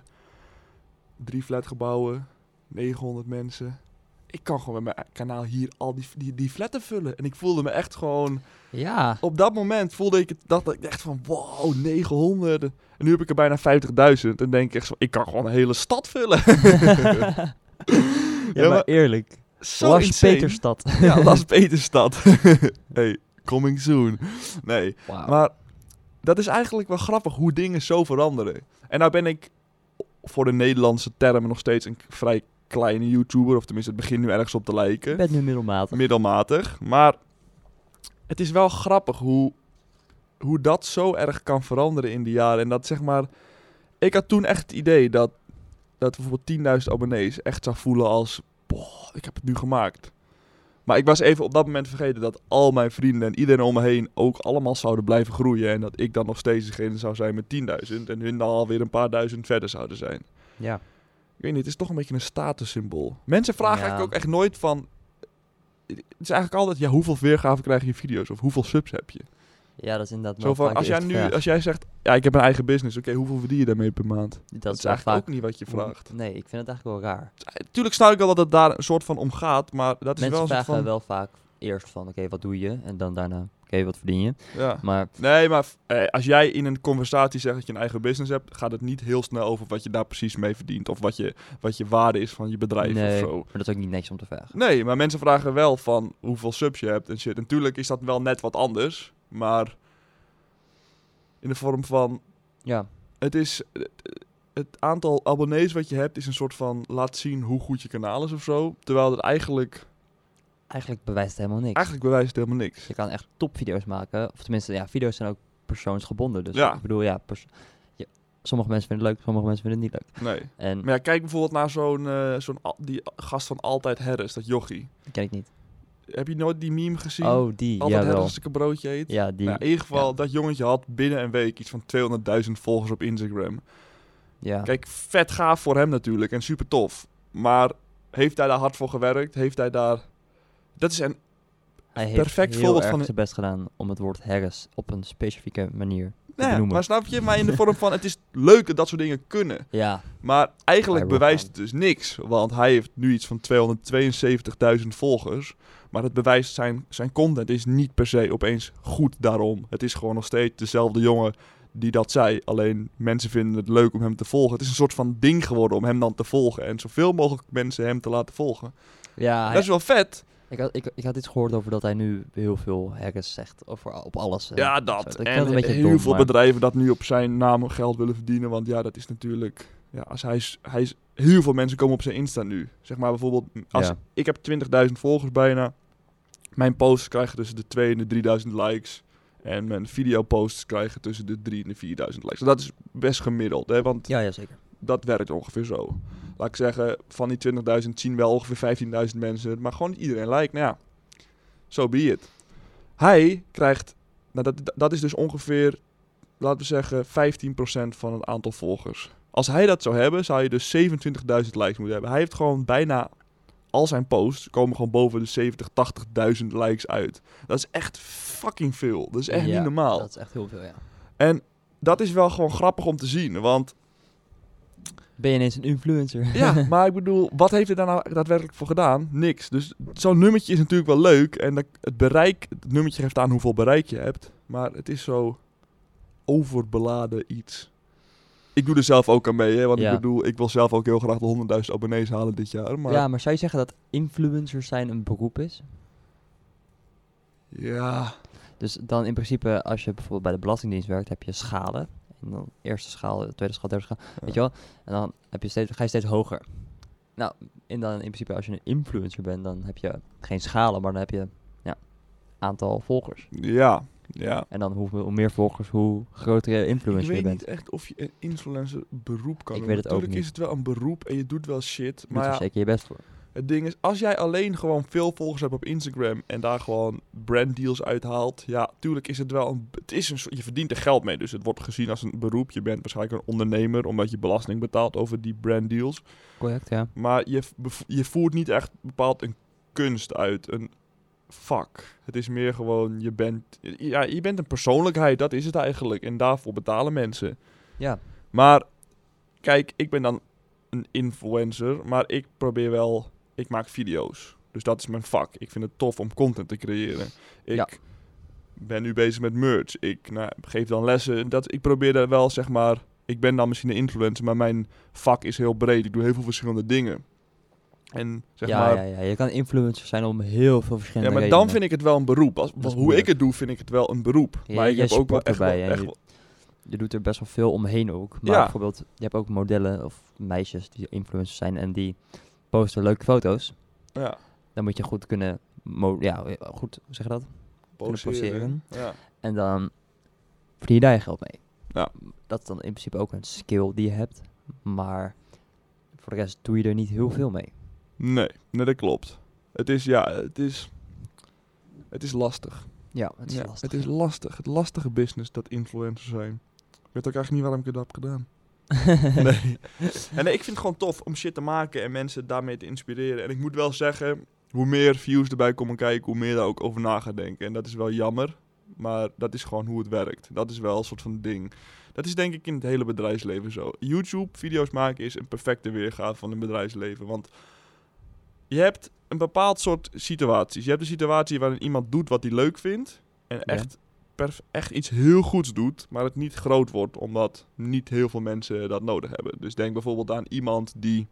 [SPEAKER 1] Drie flatgebouwen, 900 mensen. Ik kan gewoon met mijn kanaal hier al die, die, die flatten vullen. En ik voelde me echt gewoon...
[SPEAKER 2] Ja.
[SPEAKER 1] Op dat moment voelde ik het dat ik echt van... Wow, 900. En nu heb ik er bijna 50.000. En denk ik echt zo... Ik kan gewoon een hele stad vullen.
[SPEAKER 2] ja, maar
[SPEAKER 1] maar-
[SPEAKER 2] eerlijk.
[SPEAKER 1] zo
[SPEAKER 2] Lars
[SPEAKER 1] insane.
[SPEAKER 2] Peterstad.
[SPEAKER 1] Ja, Las Peterstad. hey, coming soon. Nee,
[SPEAKER 2] Wauw.
[SPEAKER 1] maar dat is eigenlijk wel grappig hoe dingen zo veranderen. En nou ben ik voor de Nederlandse termen nog steeds een k- vrij kleine YouTuber. Of tenminste, het begint nu ergens op te
[SPEAKER 2] Ik
[SPEAKER 1] lijken.
[SPEAKER 2] ben nu middelmatig.
[SPEAKER 1] Middelmatig. Maar het is wel grappig hoe, hoe dat zo erg kan veranderen in die jaren. En dat zeg maar... Ik had toen echt het idee dat, dat bijvoorbeeld 10.000 abonnees echt zou voelen als... Boah, ik heb het nu gemaakt. Maar ik was even op dat moment vergeten dat al mijn vrienden en iedereen om me heen ook allemaal zouden blijven groeien. En dat ik dan nog steeds degene zou zijn met 10.000 en hun dan alweer een paar duizend verder zouden zijn.
[SPEAKER 2] Ja.
[SPEAKER 1] Ik weet niet, het is toch een beetje een statussymbool. Mensen vragen
[SPEAKER 2] Ja.
[SPEAKER 1] eigenlijk ook echt nooit van... Het is eigenlijk altijd, ja, hoeveel weergave krijgen je video's? Of hoeveel subs heb je?
[SPEAKER 2] ja, dat is inderdaad
[SPEAKER 1] Zo
[SPEAKER 2] wel
[SPEAKER 1] van,
[SPEAKER 2] vaak
[SPEAKER 1] als
[SPEAKER 2] de
[SPEAKER 1] jij,
[SPEAKER 2] eerste
[SPEAKER 1] nu,
[SPEAKER 2] vraag.
[SPEAKER 1] als jij zegt, ja, ik heb een eigen business. Oké, hoeveel verdien je daarmee per maand? Dat,
[SPEAKER 2] dat,
[SPEAKER 1] is
[SPEAKER 2] wel
[SPEAKER 1] eigenlijk
[SPEAKER 2] vaak-
[SPEAKER 1] ook niet wat je vraagt.
[SPEAKER 2] Nee, ik vind het eigenlijk wel raar.
[SPEAKER 1] Tuurlijk snap ik wel dat het daar een soort van om gaat, maar dat is
[SPEAKER 2] Mensen
[SPEAKER 1] wel een soort
[SPEAKER 2] vragen
[SPEAKER 1] van...
[SPEAKER 2] wel vaak eerst van, oké, wat doe je? En dan daarna, oké, wat verdien je?
[SPEAKER 1] Ja.
[SPEAKER 2] Maar
[SPEAKER 1] Nee, maar f- eh, als jij in een conversatie zegt dat je een eigen business hebt, gaat het niet heel snel over wat je daar precies mee verdient. Of wat je, wat je waarde is van je bedrijf
[SPEAKER 2] nee,
[SPEAKER 1] of zo.
[SPEAKER 2] maar dat is ook niet niks om te vragen.
[SPEAKER 1] Nee, maar mensen vragen wel van hoeveel subs je hebt en shit. En natuurlijk is dat wel net wat anders, maar in de vorm van
[SPEAKER 2] Ja,
[SPEAKER 1] het is het, het aantal abonnees wat je hebt is een soort van laat zien hoe goed je kanaal is of zo, terwijl het eigenlijk
[SPEAKER 2] eigenlijk bewijst het helemaal niks.
[SPEAKER 1] eigenlijk bewijst het helemaal niks.
[SPEAKER 2] Je kan echt topvideo's maken. Of tenminste, ja, video's zijn ook persoonsgebonden. Dus
[SPEAKER 1] Ja.
[SPEAKER 2] ik bedoel, ja, pers- ja, sommige mensen vinden het leuk, sommige mensen vinden het niet leuk.
[SPEAKER 1] Nee.
[SPEAKER 2] En
[SPEAKER 1] Maar ja, kijk bijvoorbeeld naar zo'n eh zo'n al- die gast van altijd Harris, dat jochie.
[SPEAKER 2] dat ken ik niet.
[SPEAKER 1] Heb je nooit die meme gezien?
[SPEAKER 2] Oh, die,
[SPEAKER 1] altijd
[SPEAKER 2] jawel.
[SPEAKER 1] Harris als ik een broodje eet.
[SPEAKER 2] Ja, die,
[SPEAKER 1] Nou, in ieder geval,
[SPEAKER 2] ja.
[SPEAKER 1] dat jongetje had binnen een week iets van 200.000 volgers op Instagram.
[SPEAKER 2] ja.
[SPEAKER 1] Kijk, vet gaaf voor hem natuurlijk en super tof. Maar heeft hij daar hard voor gewerkt? Heeft hij daar... Dat is een...
[SPEAKER 2] Hij heeft
[SPEAKER 1] perfect
[SPEAKER 2] heel
[SPEAKER 1] voorbeeld
[SPEAKER 2] erg
[SPEAKER 1] van een-
[SPEAKER 2] zijn best gedaan om het woord Harris op een specifieke manier te
[SPEAKER 1] Nou ja,
[SPEAKER 2] benoemen.
[SPEAKER 1] maar snap je? Maar in de vorm van, het is leuk dat dat soort dingen kunnen.
[SPEAKER 2] Ja,
[SPEAKER 1] Maar eigenlijk
[SPEAKER 2] Hij
[SPEAKER 1] bewijst
[SPEAKER 2] wil
[SPEAKER 1] het dus niks. Want hij heeft nu iets van 272.000 volgers. Maar het bewijst zijn, zijn content is niet per se opeens goed daarom. Het is gewoon nog steeds dezelfde jongen die dat zei. Alleen mensen vinden het leuk om hem te volgen. Het is een soort van ding geworden om hem dan te volgen. En zoveel mogelijk mensen hem te laten volgen.
[SPEAKER 2] ja hij-
[SPEAKER 1] Dat is wel vet.
[SPEAKER 2] ik, had, ik, ik had iets gehoord over dat hij nu heel veel Harris zegt over, op alles. eh.
[SPEAKER 1] Ja,
[SPEAKER 2] zo.
[SPEAKER 1] dat.
[SPEAKER 2] Dat klinkt
[SPEAKER 1] en
[SPEAKER 2] een beetje
[SPEAKER 1] heel
[SPEAKER 2] dom,
[SPEAKER 1] veel
[SPEAKER 2] maar-
[SPEAKER 1] bedrijven dat nu op zijn naam geld willen verdienen. Want ja, dat is natuurlijk... Ja, als hij, is- hij is, heel veel mensen komen op zijn Insta nu. Zeg maar bijvoorbeeld, als
[SPEAKER 2] Ja.
[SPEAKER 1] ik heb 20.000 volgers bijna. Mijn posts krijgen tussen de 2 en de 3.000 likes. En mijn videoposts krijgen tussen de 3 en de 4.000 likes. Dat is best gemiddeld, hè, want
[SPEAKER 2] ja, ja, zeker.
[SPEAKER 1] dat werkt ongeveer zo. Laat ik zeggen, van die 20.000 zien wel ongeveer 15.000 mensen. het, Maar gewoon niet iedereen lijkt. Nou ja, so be it. Hij krijgt, nou dat, dat is dus ongeveer, laten we zeggen, 15% van het aantal volgers. Als hij dat zou hebben, zou je dus 27.000 likes moeten hebben. Hij heeft gewoon bijna al zijn posts komen gewoon boven de 70, 80.000 likes uit. Dat is echt fucking veel. Dat is echt
[SPEAKER 2] Ja,
[SPEAKER 1] niet normaal.
[SPEAKER 2] Dat is echt heel veel, ja.
[SPEAKER 1] En dat is wel gewoon grappig om te zien. Want
[SPEAKER 2] Ben je ineens een influencer?
[SPEAKER 1] Ja, maar ik bedoel, wat heeft hij daar nou daadwerkelijk voor gedaan? Niks. Dus zo'n nummertje is natuurlijk wel leuk. En dat- het bereik, het nummertje geeft aan hoeveel bereik je hebt. Maar het is zo overbeladen iets. Ik doe er zelf ook aan mee, hè. Want
[SPEAKER 2] Ja.
[SPEAKER 1] ik bedoel, ik wil zelf ook heel graag de 100.000 abonnees halen dit jaar. Maar ja,
[SPEAKER 2] ja, maar zou je zeggen dat influencers zijn een beroep is? Dus dan in principe, als je bijvoorbeeld bij de Belastingdienst werkt, heb je schalen. En dan eerste schaal, tweede schaal, derde schaal. Weet je wel? En dan heb je steeds, ga je steeds hoger. Nou, en dan in principe, als je een influencer bent, dan heb je geen schalen, maar dan heb je ja, aantal volgers.
[SPEAKER 1] ja, ja.
[SPEAKER 2] En dan hoe, hoe meer volgers, hoe groter je
[SPEAKER 1] Ik
[SPEAKER 2] influencer je
[SPEAKER 1] weet
[SPEAKER 2] bent.
[SPEAKER 1] niet echt of je een influencer beroep kan
[SPEAKER 2] Ik
[SPEAKER 1] noemen.
[SPEAKER 2] weet het ook
[SPEAKER 1] Natuurlijk
[SPEAKER 2] niet.
[SPEAKER 1] is het wel een beroep en je doet wel shit.
[SPEAKER 2] Je moet
[SPEAKER 1] Maar
[SPEAKER 2] er
[SPEAKER 1] ja,
[SPEAKER 2] zeker je best voor.
[SPEAKER 1] Het ding is, als jij alleen gewoon veel volgers hebt op Instagram en daar gewoon branddeals uithaalt, ja, tuurlijk is het wel een. Het is een soort, je verdient er geld mee, dus het wordt gezien als een beroep. Je bent waarschijnlijk een ondernemer omdat je belasting betaalt over die branddeals.
[SPEAKER 2] Correct, ja.
[SPEAKER 1] Maar je, v- bev- je voert niet echt bepaald een kunst uit, een vak. Het is meer gewoon, je bent, ja, je bent een persoonlijkheid, dat is het eigenlijk. En daarvoor betalen mensen.
[SPEAKER 2] Ja,
[SPEAKER 1] Maar kijk, ik ben dan een influencer, maar ik probeer wel. Ik maak video's. Dus dat is mijn vak. Ik vind het tof om content te creëren. Ik
[SPEAKER 2] Ja.
[SPEAKER 1] ben nu bezig met merch. Ik nou, geef dan lessen. Dat, ik probeer daar wel, zeg maar. Ik ben dan misschien een influencer, maar mijn vak is heel breed. Ik doe heel veel verschillende dingen. En zeg
[SPEAKER 2] ja,
[SPEAKER 1] maar.
[SPEAKER 2] ja, ja. Je kan influencer zijn om heel veel verschillende
[SPEAKER 1] Ja, maar
[SPEAKER 2] redenen.
[SPEAKER 1] dan vind ik het wel een beroep. Als,
[SPEAKER 2] is
[SPEAKER 1] want hoe
[SPEAKER 2] moeilijk.
[SPEAKER 1] ik het doe, vind ik het wel een beroep.
[SPEAKER 2] Ja,
[SPEAKER 1] maar ik
[SPEAKER 2] jij
[SPEAKER 1] heb ook wel
[SPEAKER 2] support
[SPEAKER 1] echt, wel,
[SPEAKER 2] erbij en
[SPEAKER 1] echt
[SPEAKER 2] je-
[SPEAKER 1] wel-
[SPEAKER 2] je doet er best wel veel omheen ook. Maar
[SPEAKER 1] Ja.
[SPEAKER 2] bijvoorbeeld, je hebt ook modellen of meisjes die influencers zijn en die posten leuke foto's.
[SPEAKER 1] ja,
[SPEAKER 2] Dan moet je goed kunnen, mo- ja, goed hoe zeg je dat? poseren.
[SPEAKER 1] Ja.
[SPEAKER 2] En dan verdien je daar je geld mee.
[SPEAKER 1] Ja.
[SPEAKER 2] Dat is dan in principe ook een skill die je hebt. Maar voor de rest doe je er niet heel veel mee.
[SPEAKER 1] Nee, nee, dat klopt. Het is, ja, het is, het is lastig.
[SPEAKER 2] Ja, het is
[SPEAKER 1] Ja,
[SPEAKER 2] lastig.
[SPEAKER 1] Het is lastig. Het lastige business dat influencers zijn. Ik weet ook eigenlijk niet waarom ik het heb gedaan. nee. En nee, ik vind het gewoon tof om shit te maken en mensen daarmee te inspireren. En ik moet wel zeggen, hoe meer views erbij komen kijken, hoe meer daar ook over na gaat denken. En dat is wel jammer, maar dat is gewoon hoe het werkt. Dat is wel een soort van ding. Dat is denk ik in het hele bedrijfsleven zo. YouTube video's maken is een perfecte weergave van een bedrijfsleven. Want je je hebt een bepaald soort situaties. Je hebt de situatie waarin iemand doet wat hij leuk vindt. En echt, perf- echt iets heel goeds doet, maar het niet groot wordt, omdat niet heel veel mensen dat nodig hebben. Dus denk bijvoorbeeld aan iemand die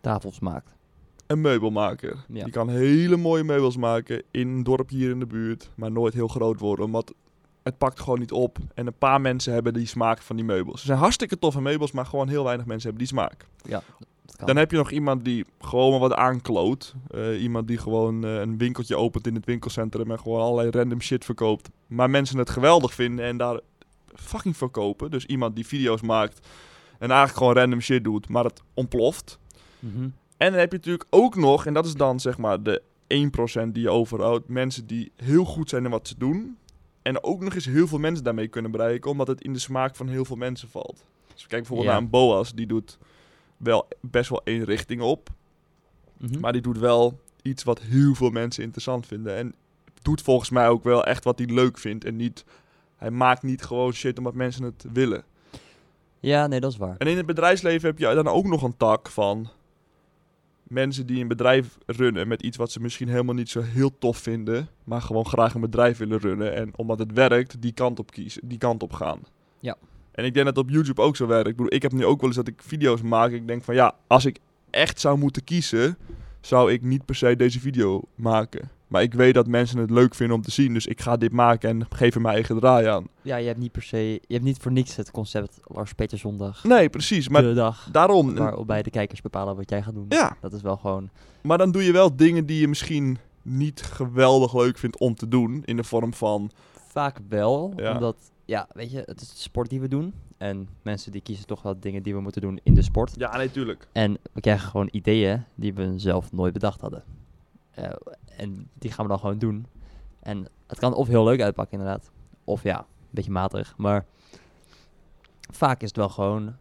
[SPEAKER 2] Tafels maakt.
[SPEAKER 1] een meubelmaker.
[SPEAKER 2] Ja.
[SPEAKER 1] Die kan hele mooie meubels maken in een dorp hier in de buurt, maar nooit heel groot worden, omdat het pakt gewoon niet op. En een paar mensen hebben die smaak van die meubels. Ze zijn hartstikke toffe meubels, maar gewoon heel weinig mensen hebben die smaak.
[SPEAKER 2] Dat kan.
[SPEAKER 1] Dan heb je nog iemand die gewoon maar wat aankloot. Eh, iemand die gewoon eh, een winkeltje opent in het winkelcentrum en gewoon allerlei random shit verkoopt. Maar mensen het geweldig vinden en daar fucking voor kopen. Dus iemand die video's maakt en eigenlijk gewoon random shit doet, maar het ontploft.
[SPEAKER 2] Mhm.
[SPEAKER 1] En dan heb je natuurlijk ook nog, en dat is dan zeg maar de 1% die je overhoudt, mensen die heel goed zijn in wat ze doen. En ook nog eens heel veel mensen daarmee kunnen bereiken, omdat het in de smaak van heel veel mensen valt. Dus kijk bijvoorbeeld
[SPEAKER 2] Ja.
[SPEAKER 1] naar een Boas, die doet wel best wel één richting op.
[SPEAKER 2] Mhm.
[SPEAKER 1] Maar die doet wel iets wat heel veel mensen interessant vinden. En doet volgens mij ook wel echt wat hij leuk vindt. En niet, hij maakt niet gewoon shit omdat mensen het willen.
[SPEAKER 2] Ja, nee, dat is waar.
[SPEAKER 1] En in het bedrijfsleven heb je dan ook nog een tak van mensen die een bedrijf runnen met iets wat ze misschien helemaal niet zo heel tof vinden, maar gewoon graag een bedrijf willen runnen en omdat het werkt, die kant op kiezen, die kant op gaan.
[SPEAKER 2] Ja.
[SPEAKER 1] En ik denk dat op YouTube ook zo werkt. Ik bedoel, ik heb nu ook wel eens dat ik video's maak en ik denk van ja, als ik echt zou moeten kiezen, zou ik niet per se deze video maken. Maar ik weet dat mensen het leuk vinden om te zien, dus ik ga dit maken en geef er mijn eigen draai aan.
[SPEAKER 2] Ja, je hebt niet per se, je hebt niet voor niks het concept Lars Peter Zondag.
[SPEAKER 1] Nee, precies. Maar
[SPEAKER 2] de dag
[SPEAKER 1] daarom,
[SPEAKER 2] waarbij de kijkers bepalen wat jij gaat doen.
[SPEAKER 1] ja,
[SPEAKER 2] Dat is wel gewoon.
[SPEAKER 1] Maar dan doe je wel dingen die je misschien niet geweldig leuk vindt om te doen. In de vorm van.
[SPEAKER 2] Vaak wel,
[SPEAKER 1] Ja.
[SPEAKER 2] omdat, ja, weet je, het is de sport die we doen. En mensen die kiezen toch wel dingen die we moeten doen in de sport.
[SPEAKER 1] Ja, nee, tuurlijk.
[SPEAKER 2] En we krijgen gewoon ideeën die we zelf nooit bedacht hadden. Eh, en die gaan we dan gewoon doen. En het kan of heel leuk uitpakken inderdaad, of ja, een beetje matig. Maar vaak is het wel gewoon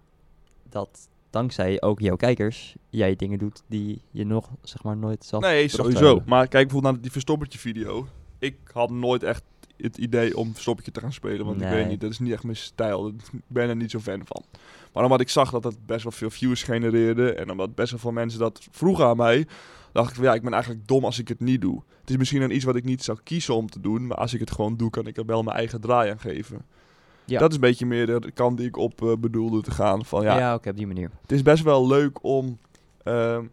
[SPEAKER 2] dat dankzij ook jouw kijkers jij dingen doet die je nog zeg maar nooit zelf.
[SPEAKER 1] Nee,
[SPEAKER 2] bedacht
[SPEAKER 1] sowieso.
[SPEAKER 2] hebben.
[SPEAKER 1] Maar kijk bijvoorbeeld naar die verstoppertje video. Ik had nooit echt het idee om verstoppertje te gaan spelen. Want ik
[SPEAKER 2] Nee.
[SPEAKER 1] weet niet, dat is niet echt mijn stijl. Ik ben er niet zo fan van. Maar omdat ik zag dat het best wel veel views genereerde. En omdat best wel veel mensen dat vroegen aan mij. Dacht ik van ja, ik ben eigenlijk dom als ik het niet doe. Het is misschien dan iets wat ik niet zou kiezen om te doen. Maar als ik het gewoon doe, kan ik er wel mijn eigen draai aan geven.
[SPEAKER 2] Ja.
[SPEAKER 1] Dat is een beetje meer de kant die ik op eh, bedoelde te gaan. Van
[SPEAKER 2] Ja,
[SPEAKER 1] ja,
[SPEAKER 2] oké, op die manier.
[SPEAKER 1] het is best wel leuk om, ehm,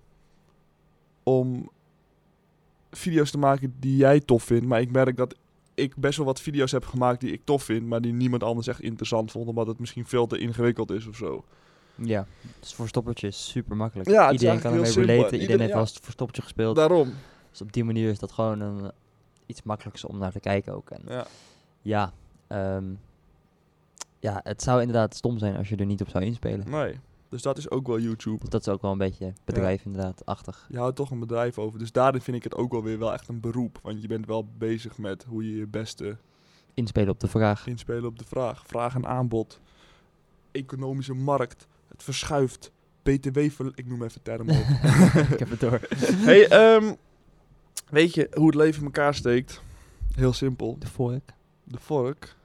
[SPEAKER 1] om video's te maken die jij tof vindt. Maar ik merk dat ik best wel wat video's heb gemaakt die ik tof vind, maar die niemand anders echt interessant vond, omdat het misschien veel te ingewikkeld is of zo.
[SPEAKER 2] Ja, dus verstoppertje is super makkelijk.
[SPEAKER 1] Ja, het is
[SPEAKER 2] Iedereen
[SPEAKER 1] eigenlijk
[SPEAKER 2] kan
[SPEAKER 1] heel
[SPEAKER 2] ermee
[SPEAKER 1] simpel.
[SPEAKER 2] relaten. Iedereen,
[SPEAKER 1] Ieder-
[SPEAKER 2] heeft
[SPEAKER 1] ja.
[SPEAKER 2] wel eens verstoppertje gespeeld.
[SPEAKER 1] Daarom.
[SPEAKER 2] Dus op die manier is dat gewoon een, eh, iets makkelijks om naar te kijken ook. En
[SPEAKER 1] Ja.
[SPEAKER 2] Ja, ehm, ja, het zou inderdaad stom zijn als je er niet op zou inspelen.
[SPEAKER 1] Nee. Dus dat is ook wel YouTube.
[SPEAKER 2] Dus dat is ook wel een beetje bedrijf inderdaad, achtig.
[SPEAKER 1] Je houdt toch een bedrijf over. Dus daarin vind ik het ook wel weer wel echt een beroep. Want je bent wel bezig met hoe je je beste
[SPEAKER 2] Inspelen op de vraag.
[SPEAKER 1] inspelen op de vraag. Vraag en aanbod. Economische markt. Het verschuift. BTW, verle- ik noem even termen op.
[SPEAKER 2] Ik heb het door.
[SPEAKER 1] Hey, ehm, weet je hoe het leven in elkaar steekt? Heel simpel.
[SPEAKER 2] De vork.
[SPEAKER 1] De vork.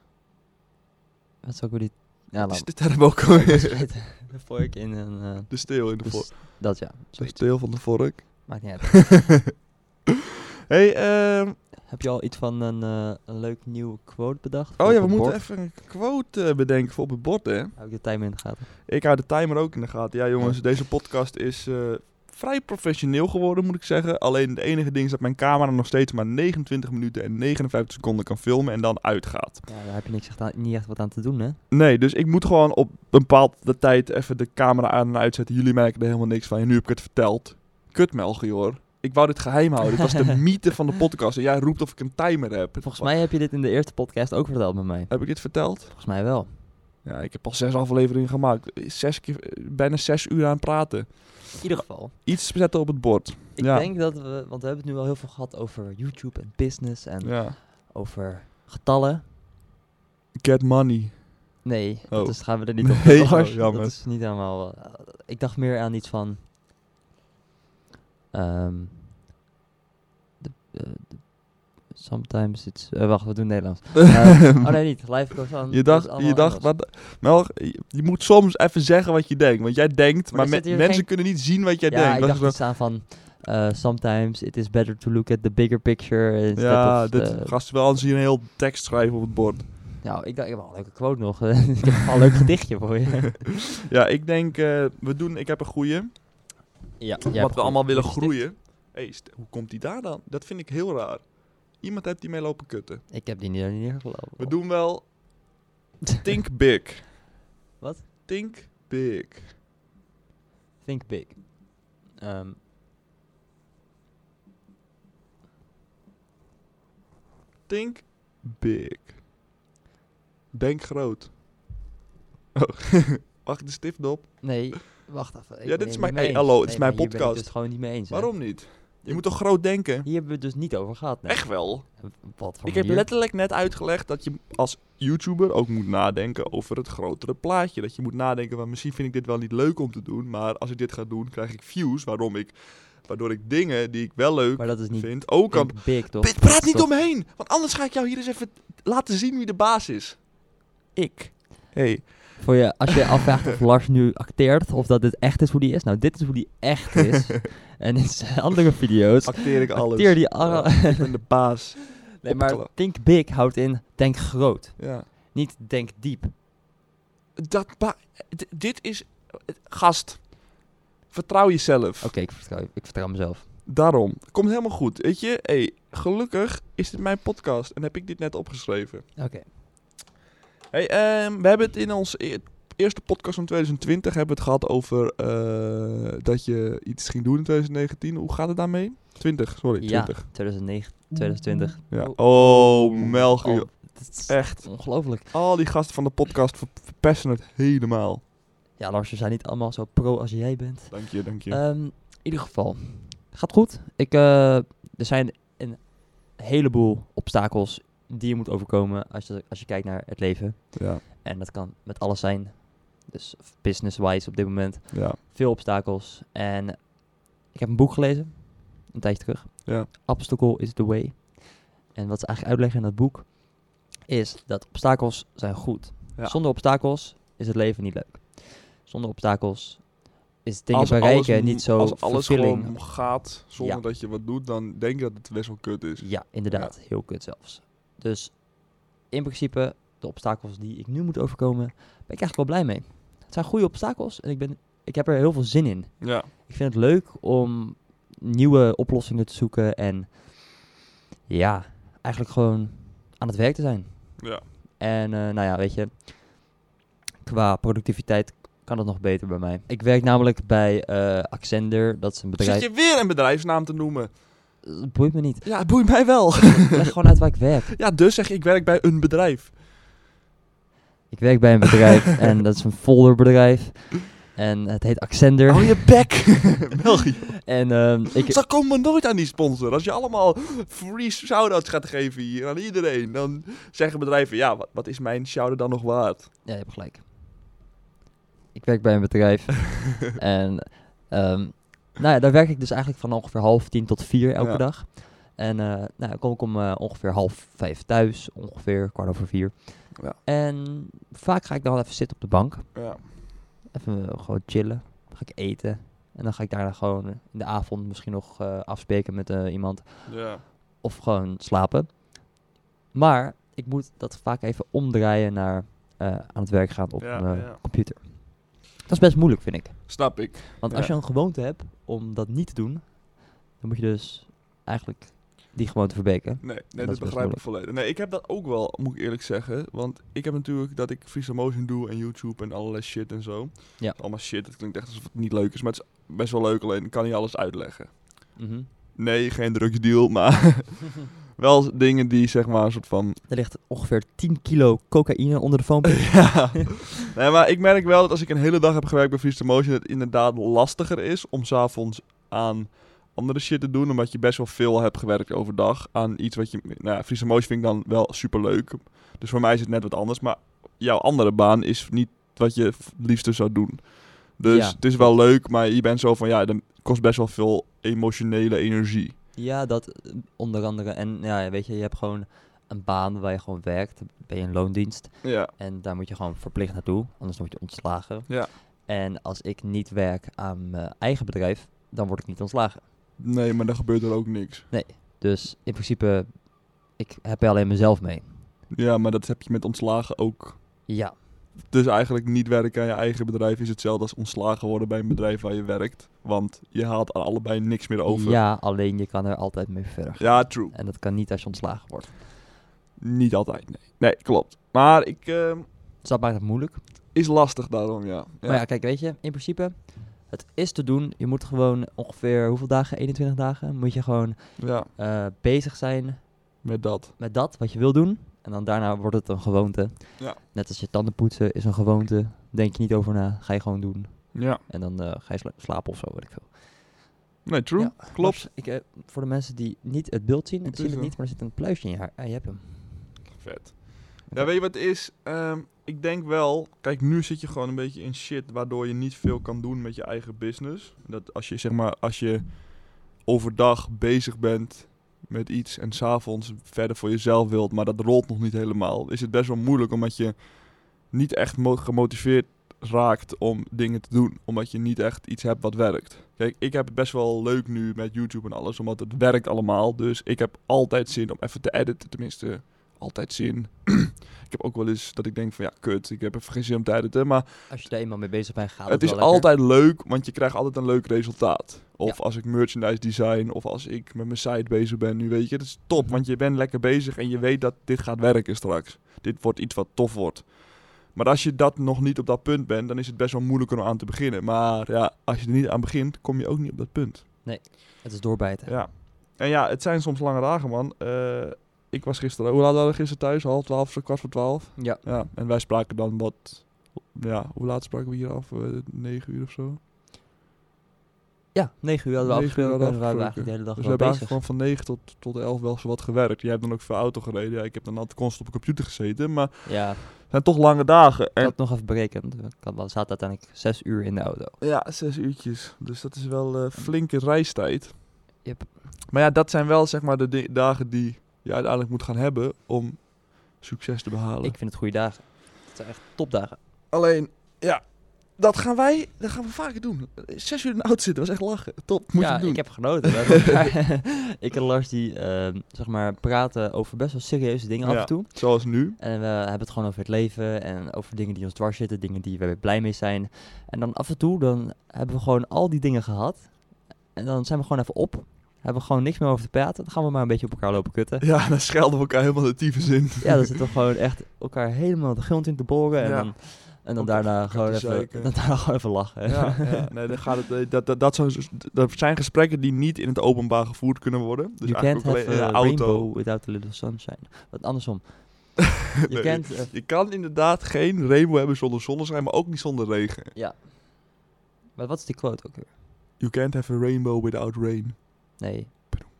[SPEAKER 2] Wat zou ik weer die... Ja,
[SPEAKER 1] Is
[SPEAKER 2] laat
[SPEAKER 1] de term ook alweer?
[SPEAKER 2] De vork in een... eh,
[SPEAKER 1] De steel in de
[SPEAKER 2] dus
[SPEAKER 1] vork.
[SPEAKER 2] dat ja,
[SPEAKER 1] De
[SPEAKER 2] zoiets.
[SPEAKER 1] steel van de vork.
[SPEAKER 2] Maakt niet uit.
[SPEAKER 1] hey, ehm,
[SPEAKER 2] Heb je al iets van een, eh, een leuk nieuwe quote bedacht?
[SPEAKER 1] oh
[SPEAKER 2] Op
[SPEAKER 1] ja, we
[SPEAKER 2] een
[SPEAKER 1] moeten
[SPEAKER 2] bord?
[SPEAKER 1] even een quote eh, bedenken voor op het bord, hè?
[SPEAKER 2] Hou ik de time in de gaten.
[SPEAKER 1] Ik hou de timer ook in de gaten. Ja, jongens, deze podcast is eh, vrij professioneel geworden, moet ik zeggen. Alleen het enige ding is dat mijn camera nog steeds maar 29 minuten en 59 seconden kan filmen en dan uitgaat.
[SPEAKER 2] Ja, daar heb je niks echt aan, niet echt wat aan te doen, hè?
[SPEAKER 1] Nee, dus ik moet gewoon op een bepaalde tijd even de camera aan en uitzetten. Jullie merken er helemaal niks van. En nu heb ik het verteld. Kut, Melchior. hoor. Ik wou dit geheim houden. Dit was de mythe van de podcast. En jij roept of ik een timer heb.
[SPEAKER 2] Volgens mij heb je dit in de eerste podcast ook verteld met mij.
[SPEAKER 1] Heb ik dit verteld?
[SPEAKER 2] Volgens mij wel.
[SPEAKER 1] Ja, ik heb al zes afleveringen gemaakt. Zes keer, eh, bijna zes uur aan praten.
[SPEAKER 2] In ieder geval.
[SPEAKER 1] Iets zetten op het bord.
[SPEAKER 2] Ik
[SPEAKER 1] Ja.
[SPEAKER 2] denk dat we, want we hebben het nu al heel veel gehad over YouTube en business en
[SPEAKER 1] Ja.
[SPEAKER 2] over getallen.
[SPEAKER 1] Get money.
[SPEAKER 2] Nee,
[SPEAKER 1] Oh.
[SPEAKER 2] dus gaan we er niet op.
[SPEAKER 1] Nee,
[SPEAKER 2] door.
[SPEAKER 1] oh, jammer.
[SPEAKER 2] Dat is niet helemaal. eh, ik dacht meer aan iets van. ehm, de, eh, de, Sometimes it's... eh, wacht, we doen Nederlands. Eh, oh nee, niet. Life goes on.
[SPEAKER 1] Je dacht, je dacht maar, Mel, je je moet soms even zeggen wat je denkt. Want jij denkt,
[SPEAKER 2] Maar
[SPEAKER 1] maar,
[SPEAKER 2] er
[SPEAKER 1] me-
[SPEAKER 2] zit hier
[SPEAKER 1] mensen
[SPEAKER 2] geen-
[SPEAKER 1] kunnen niet zien wat jij
[SPEAKER 2] ja,
[SPEAKER 1] denkt.
[SPEAKER 2] ik
[SPEAKER 1] Dat
[SPEAKER 2] dacht
[SPEAKER 1] is wel-
[SPEAKER 2] iets aan van... eh, sometimes it is better to look at the bigger picture. Instead
[SPEAKER 1] ja,
[SPEAKER 2] of,
[SPEAKER 1] dit
[SPEAKER 2] eh,
[SPEAKER 1] gast wil anders hier een heel tekst schrijven op het bord.
[SPEAKER 2] nou, ik dacht, ik heb wel een leuke quote nog. ik heb wel een leuk gedichtje voor je.
[SPEAKER 1] Ja, ik denk, eh, we doen, ik heb een goeie.
[SPEAKER 2] ja,
[SPEAKER 1] Wat we allemaal willen groeien. Hey, st- hoe komt die daar dan? Dat vind ik heel raar. Iemand hebt die mee lopen kutten.
[SPEAKER 2] Ik heb die niet neergelopen.
[SPEAKER 1] We doen wel think big.
[SPEAKER 2] Wat?
[SPEAKER 1] Think big.
[SPEAKER 2] Think big. Ehm,
[SPEAKER 1] Think big. Denk groot. Oh, wacht de stift op.
[SPEAKER 2] nee, wacht even.
[SPEAKER 1] Ja,
[SPEAKER 2] Ik
[SPEAKER 1] dit
[SPEAKER 2] ben
[SPEAKER 1] is
[SPEAKER 2] het
[SPEAKER 1] mijn-
[SPEAKER 2] niet mee
[SPEAKER 1] hey,
[SPEAKER 2] eens.
[SPEAKER 1] hallo, het
[SPEAKER 2] Nee,
[SPEAKER 1] is mijn
[SPEAKER 2] maar hier ben ik
[SPEAKER 1] podcast.
[SPEAKER 2] het dus gewoon niet mee eens. hè.
[SPEAKER 1] Waarom niet? Je moet toch groot denken?
[SPEAKER 2] Hier hebben we het dus niet over gehad. nee.
[SPEAKER 1] Echt wel.
[SPEAKER 2] Wat voor
[SPEAKER 1] Ik heb
[SPEAKER 2] manier?
[SPEAKER 1] letterlijk net uitgelegd dat je als YouTuber ook moet nadenken over het grotere plaatje. Dat je moet nadenken van misschien vind ik dit wel niet leuk om te doen, maar als ik dit ga doen krijg ik views waarom ik, waardoor ik dingen die ik wel leuk
[SPEAKER 2] Maar dat is niet
[SPEAKER 1] vind ook kan...
[SPEAKER 2] think big, toch?
[SPEAKER 1] Pit, praat niet
[SPEAKER 2] Toch?
[SPEAKER 1] omheen, want anders ga ik jou hier eens even laten zien wie de baas is. Ik. Hey.
[SPEAKER 2] Voor je, als je je afvraagt of Lars nu acteert, of dat dit echt is hoe die is. Nou, dit is hoe die echt is. en in zijn andere video's
[SPEAKER 1] Acteer ik alles.
[SPEAKER 2] acteer die alle...
[SPEAKER 1] Ja, ik ben de baas.
[SPEAKER 2] nee, maar
[SPEAKER 1] opgekla-
[SPEAKER 2] think big houdt in, denk groot.
[SPEAKER 1] Ja.
[SPEAKER 2] Niet denk diep.
[SPEAKER 1] Dat ba- d- dit is... Gast, vertrouw jezelf.
[SPEAKER 2] Oké, ik, vertrouw, je. ik vertrouw mezelf.
[SPEAKER 1] Daarom. Komt helemaal goed. Weet je, hey, gelukkig is dit mijn podcast en heb ik dit net opgeschreven.
[SPEAKER 2] Oké.
[SPEAKER 1] Hey, ehm, we hebben het in ons e- eerste podcast van 2020 hebben we het gehad over eh, dat je iets ging doen in 2019. Hoe gaat het daarmee? 20, sorry,
[SPEAKER 2] Ja.
[SPEAKER 1] 20.
[SPEAKER 2] 2009, 2020.
[SPEAKER 1] Ja.
[SPEAKER 2] Oh.
[SPEAKER 1] Oh, Melchior.
[SPEAKER 2] Oh, dat is
[SPEAKER 1] Echt.
[SPEAKER 2] ongelooflijk.
[SPEAKER 1] Al die gasten van de podcast ver- verpesten het helemaal.
[SPEAKER 2] Ja, Lars, we zijn niet allemaal zo pro als jij bent.
[SPEAKER 1] Dank je, dank je.
[SPEAKER 2] Ehm, in ieder geval, gaat goed. Ik, eh, er zijn een heleboel obstakels die je moet overkomen als je, als je kijkt naar het leven.
[SPEAKER 1] ja,
[SPEAKER 2] En dat kan met alles zijn. Dus business-wise op dit moment.
[SPEAKER 1] ja.
[SPEAKER 2] Veel obstakels. En ik heb een boek gelezen, een tijdje terug.
[SPEAKER 1] Ja.
[SPEAKER 2] Obstacle is the way. En wat ze eigenlijk uitleggen in dat boek is dat obstakels zijn goed.
[SPEAKER 1] Ja.
[SPEAKER 2] Zonder obstakels is het leven niet leuk. Zonder obstakels is dingen
[SPEAKER 1] Als
[SPEAKER 2] bereiken
[SPEAKER 1] alles m-
[SPEAKER 2] niet zo
[SPEAKER 1] Als alles
[SPEAKER 2] vervulling.
[SPEAKER 1] gewoon gaat zonder
[SPEAKER 2] Ja.
[SPEAKER 1] dat je wat doet, dan denk je dat het best wel kut is.
[SPEAKER 2] Ja, inderdaad. Heel kut zelfs. Dus in principe, de obstakels die ik nu moet overkomen, ben ik eigenlijk wel blij mee. Het zijn goede obstakels en ik, ben, ik heb er heel veel zin in.
[SPEAKER 1] Ja.
[SPEAKER 2] Ik vind het leuk om nieuwe oplossingen te zoeken en ja, eigenlijk gewoon aan het werk te zijn.
[SPEAKER 1] Ja.
[SPEAKER 2] En eh, nou ja, weet je, qua productiviteit kan dat nog beter bij mij. Ik werk namelijk bij eh Accender, dat is een bedrijf.
[SPEAKER 1] Zit je weer een bedrijfsnaam te noemen?
[SPEAKER 2] Het boeit me niet.
[SPEAKER 1] Ja, het boeit mij wel.
[SPEAKER 2] Leg gewoon uit waar ik werk.
[SPEAKER 1] ja, dus zeg je, ik werk bij een bedrijf.
[SPEAKER 2] Ik werk bij een bedrijf en dat is een folderbedrijf. En het heet Accender.
[SPEAKER 1] Hou Oh, je bek, België.
[SPEAKER 2] En ehm, ik,
[SPEAKER 1] Ze komen nooit aan die sponsor. Als je allemaal free shout-outs gaat geven hier aan iedereen, dan zeggen bedrijven, ja, wat, wat is mijn shout-out dan nog waard?
[SPEAKER 2] Ja, je hebt gelijk. Ik werk bij een bedrijf. en ehm, nou ja, daar werk ik dus eigenlijk van ongeveer half tien tot vier elke
[SPEAKER 1] Ja.
[SPEAKER 2] dag. En eh, nou, dan kom ik om eh, ongeveer half vijf thuis, ongeveer kwart over vier.
[SPEAKER 1] Ja.
[SPEAKER 2] En vaak ga ik dan wel even zitten op de bank.
[SPEAKER 1] Ja.
[SPEAKER 2] Even eh, gewoon chillen. Dan ga ik eten. En dan ga ik daarna gewoon in de avond misschien nog eh, afspreken met eh, iemand.
[SPEAKER 1] ja.
[SPEAKER 2] Of gewoon slapen. Maar ik moet dat vaak even omdraaien naar eh, aan het werk gaan op
[SPEAKER 1] Ja,
[SPEAKER 2] mijn
[SPEAKER 1] ja.
[SPEAKER 2] computer. Dat is best moeilijk, vind ik.
[SPEAKER 1] Snap ik.
[SPEAKER 2] Want als je een gewoonte hebt om dat niet te doen, dan moet je dus eigenlijk die gewoonte verbeteren.
[SPEAKER 1] Nee, nee
[SPEAKER 2] dat
[SPEAKER 1] dat
[SPEAKER 2] is best
[SPEAKER 1] begrijp ik
[SPEAKER 2] moeilijk.
[SPEAKER 1] volledig. Nee, ik heb dat ook wel, moet ik eerlijk zeggen. Want ik heb natuurlijk dat ik freestyle motion doe en YouTube en allerlei shit en zo.
[SPEAKER 2] Ja.
[SPEAKER 1] Allemaal shit, dat klinkt echt alsof het niet leuk is. Maar het is best wel leuk, alleen ik kan niet alles uitleggen. Mhm. Nee, geen drugsdeal, maar wel dingen die zeg maar een soort van...
[SPEAKER 2] Er ligt ongeveer 10 kilo cocaïne onder de foam.
[SPEAKER 1] ja. Nee, maar ik merk wel dat als ik een hele dag heb gewerkt bij Freeze Motion... het inderdaad lastiger is om s'avonds aan andere shit te doen... omdat je best wel veel hebt gewerkt overdag aan iets wat je... Nou ja, Freeze Motion vind ik dan wel superleuk. Dus voor mij is het net wat anders. Maar jouw andere baan is niet wat je het liefste zou doen. Dus
[SPEAKER 2] Ja.
[SPEAKER 1] het is wel leuk, maar je bent zo van... ja, dat kost best wel veel emotionele energie.
[SPEAKER 2] Ja, dat eh, onder andere. En ja, weet je, je hebt gewoon een baan waar je gewoon werkt. Ben je een loondienst.
[SPEAKER 1] Ja.
[SPEAKER 2] En daar moet je gewoon verplicht naartoe. Anders word je ontslagen.
[SPEAKER 1] Ja.
[SPEAKER 2] En als ik niet werk aan mijn eigen bedrijf, dan word ik niet ontslagen.
[SPEAKER 1] Nee, maar dan gebeurt er ook niks.
[SPEAKER 2] Dus in principe, ik heb er alleen mezelf mee.
[SPEAKER 1] Ja, maar dat heb je met ontslagen ook.
[SPEAKER 2] Ja,
[SPEAKER 1] Dus eigenlijk niet werken aan je eigen bedrijf is hetzelfde als ontslagen worden bij een bedrijf waar je werkt. Want je haalt aan allebei niks meer over.
[SPEAKER 2] ja alleen je kan er altijd mee verder.
[SPEAKER 1] Ja, true.
[SPEAKER 2] En dat kan niet als je ontslagen wordt.
[SPEAKER 1] Niet altijd, nee. Nee, klopt. Maar ik... ehm,
[SPEAKER 2] Dus dat maakt het moeilijk.
[SPEAKER 1] is lastig daarom, ja. Ja.
[SPEAKER 2] Maar ja, kijk, weet je, in principe, het is te doen. Je moet gewoon ongeveer, hoeveel dagen? 21 dagen? Moet je gewoon
[SPEAKER 1] Ja,
[SPEAKER 2] eh, bezig zijn
[SPEAKER 1] met dat.
[SPEAKER 2] met dat wat je wil doen. En dan daarna wordt het een gewoonte.
[SPEAKER 1] Ja.
[SPEAKER 2] Net als je tanden poetsen is een gewoonte. Denk je niet over na, ga je gewoon doen.
[SPEAKER 1] Ja.
[SPEAKER 2] En dan eh, ga je sla- slapen of zo, weet ik veel.
[SPEAKER 1] Nee, true.
[SPEAKER 2] Ja.
[SPEAKER 1] Klopt.
[SPEAKER 2] Maar Ik, eh, voor de mensen die niet het beeld zien,
[SPEAKER 1] Het
[SPEAKER 2] zien
[SPEAKER 1] is
[SPEAKER 2] het
[SPEAKER 1] er.
[SPEAKER 2] niet, maar er zit een pluisje in je haar. Ah, je hebt hem.
[SPEAKER 1] Vet. Ja,
[SPEAKER 2] Oké.
[SPEAKER 1] weet je wat het is? Ehm, ik denk wel... Kijk, nu zit je gewoon een beetje in shit... waardoor je niet veel kan doen met je eigen business. Dat als je, zeg maar, als je overdag bezig bent met iets... en s'avonds verder voor jezelf wilt... maar dat rolt nog niet helemaal... is het best wel moeilijk omdat je niet echt mo- gemotiveerd raakt om dingen te doen. Omdat je niet echt iets hebt wat werkt. Kijk, ik heb het best wel leuk nu met YouTube en alles... omdat het werkt allemaal. Dus ik heb altijd zin om even te editen, tenminste altijd zin. ik heb ook wel eens dat ik denk van ja, kut, ik heb even geen zin om te editen. Maar
[SPEAKER 2] Als je daar eenmaal mee bezig bent, gaat het
[SPEAKER 1] het is
[SPEAKER 2] Ah, wel lekker.
[SPEAKER 1] altijd leuk, want je krijgt altijd een leuk resultaat. Of
[SPEAKER 2] Ja.
[SPEAKER 1] als ik merchandise design, of als ik met mijn site bezig ben nu, weet je. Het is top,
[SPEAKER 2] Mhm.
[SPEAKER 1] want je bent lekker bezig en je weet dat dit gaat werken straks. Dit wordt iets wat tof wordt. Maar als je dat nog niet op dat punt bent, dan is het best wel moeilijk om aan te beginnen. Maar ja, als je er niet aan begint, kom je ook niet op dat punt.
[SPEAKER 2] Het is doorbijten.
[SPEAKER 1] Ja. En ja, het zijn soms lange dagen, man. Eh, ik was gisteren... Hoe laat waren we gisteren thuis? Half twaalf, zo kwart voor twaalf?
[SPEAKER 2] Ja.
[SPEAKER 1] Ja. En wij spraken dan wat... Ja, hoe laat spraken we hier af? Eh, Negen uur of zo?
[SPEAKER 2] Ja, 9 uur hadden we
[SPEAKER 1] Negen uur
[SPEAKER 2] afgesproken.
[SPEAKER 1] hadden we
[SPEAKER 2] en we waren eigenlijk
[SPEAKER 1] afgesproken.
[SPEAKER 2] de hele dag
[SPEAKER 1] dus we
[SPEAKER 2] wel
[SPEAKER 1] hebben
[SPEAKER 2] bezig.
[SPEAKER 1] eigenlijk gewoon van negen tot, tot elf wel zo wat gewerkt. Jij hebt dan ook veel auto gereden. Ja, ik heb dan altijd constant op de computer gezeten. Maar
[SPEAKER 2] Ja,
[SPEAKER 1] het zijn toch lange dagen.
[SPEAKER 2] ik
[SPEAKER 1] En
[SPEAKER 2] had het nog even berekend. Ik had, we zaten uiteindelijk 6 uur in de auto.
[SPEAKER 1] Ja, zes uurtjes. Dus dat is wel eh, flinke reistijd.
[SPEAKER 2] Yep.
[SPEAKER 1] Maar ja, dat zijn wel zeg maar de di- dagen die je uiteindelijk moet gaan hebben om succes te behalen.
[SPEAKER 2] Ik vind het goede dagen. Het zijn echt topdagen.
[SPEAKER 1] Alleen, ja, dat gaan wij, dat gaan we vaker doen. Zes uur in de auto zitten, was echt lachen. Top, moet
[SPEAKER 2] ja,
[SPEAKER 1] je doen.
[SPEAKER 2] ik heb genoten. We hebben elkaar- ik en Lars die ehm, zeg maar praten over best wel serieuze dingen af
[SPEAKER 1] Ja.
[SPEAKER 2] en toe.
[SPEAKER 1] Zoals nu.
[SPEAKER 2] En we hebben het gewoon over het leven en over dingen die ons dwars zitten, dingen die we blij mee zijn. En dan af en toe dan hebben we gewoon al die dingen gehad. En dan zijn we gewoon even op. Hebben we gewoon niks meer over te praten. Dan gaan we maar een beetje op elkaar lopen kutten.
[SPEAKER 1] Ja, dan schelden we elkaar helemaal de tyfus in.
[SPEAKER 2] Ja, dan zitten we gewoon echt elkaar helemaal de grond in te boren. En
[SPEAKER 1] Ja.
[SPEAKER 2] dan, en dan,
[SPEAKER 1] Om
[SPEAKER 2] daarna
[SPEAKER 1] te
[SPEAKER 2] gewoon even,
[SPEAKER 1] zeiken.
[SPEAKER 2] dan daarna gewoon even lachen.
[SPEAKER 1] Ja, ja. Nee, dan gaat het, eh, dat, dat, dat, zou- dat zijn gesprekken die niet in het openbaar gevoerd kunnen worden. Dus
[SPEAKER 2] you can't
[SPEAKER 1] eigenlijk ook
[SPEAKER 2] have
[SPEAKER 1] alleen in
[SPEAKER 2] a
[SPEAKER 1] de auto.
[SPEAKER 2] rainbow without a little sunshine. Wat andersom. Je
[SPEAKER 1] Nee.
[SPEAKER 2] kent... eh,
[SPEAKER 1] Je kan inderdaad geen rainbow hebben zonder zonneschijn, maar ook niet zonder regen.
[SPEAKER 2] maar wat is die quote ook weer?
[SPEAKER 1] You can't have a rainbow without rain.
[SPEAKER 2] Nee,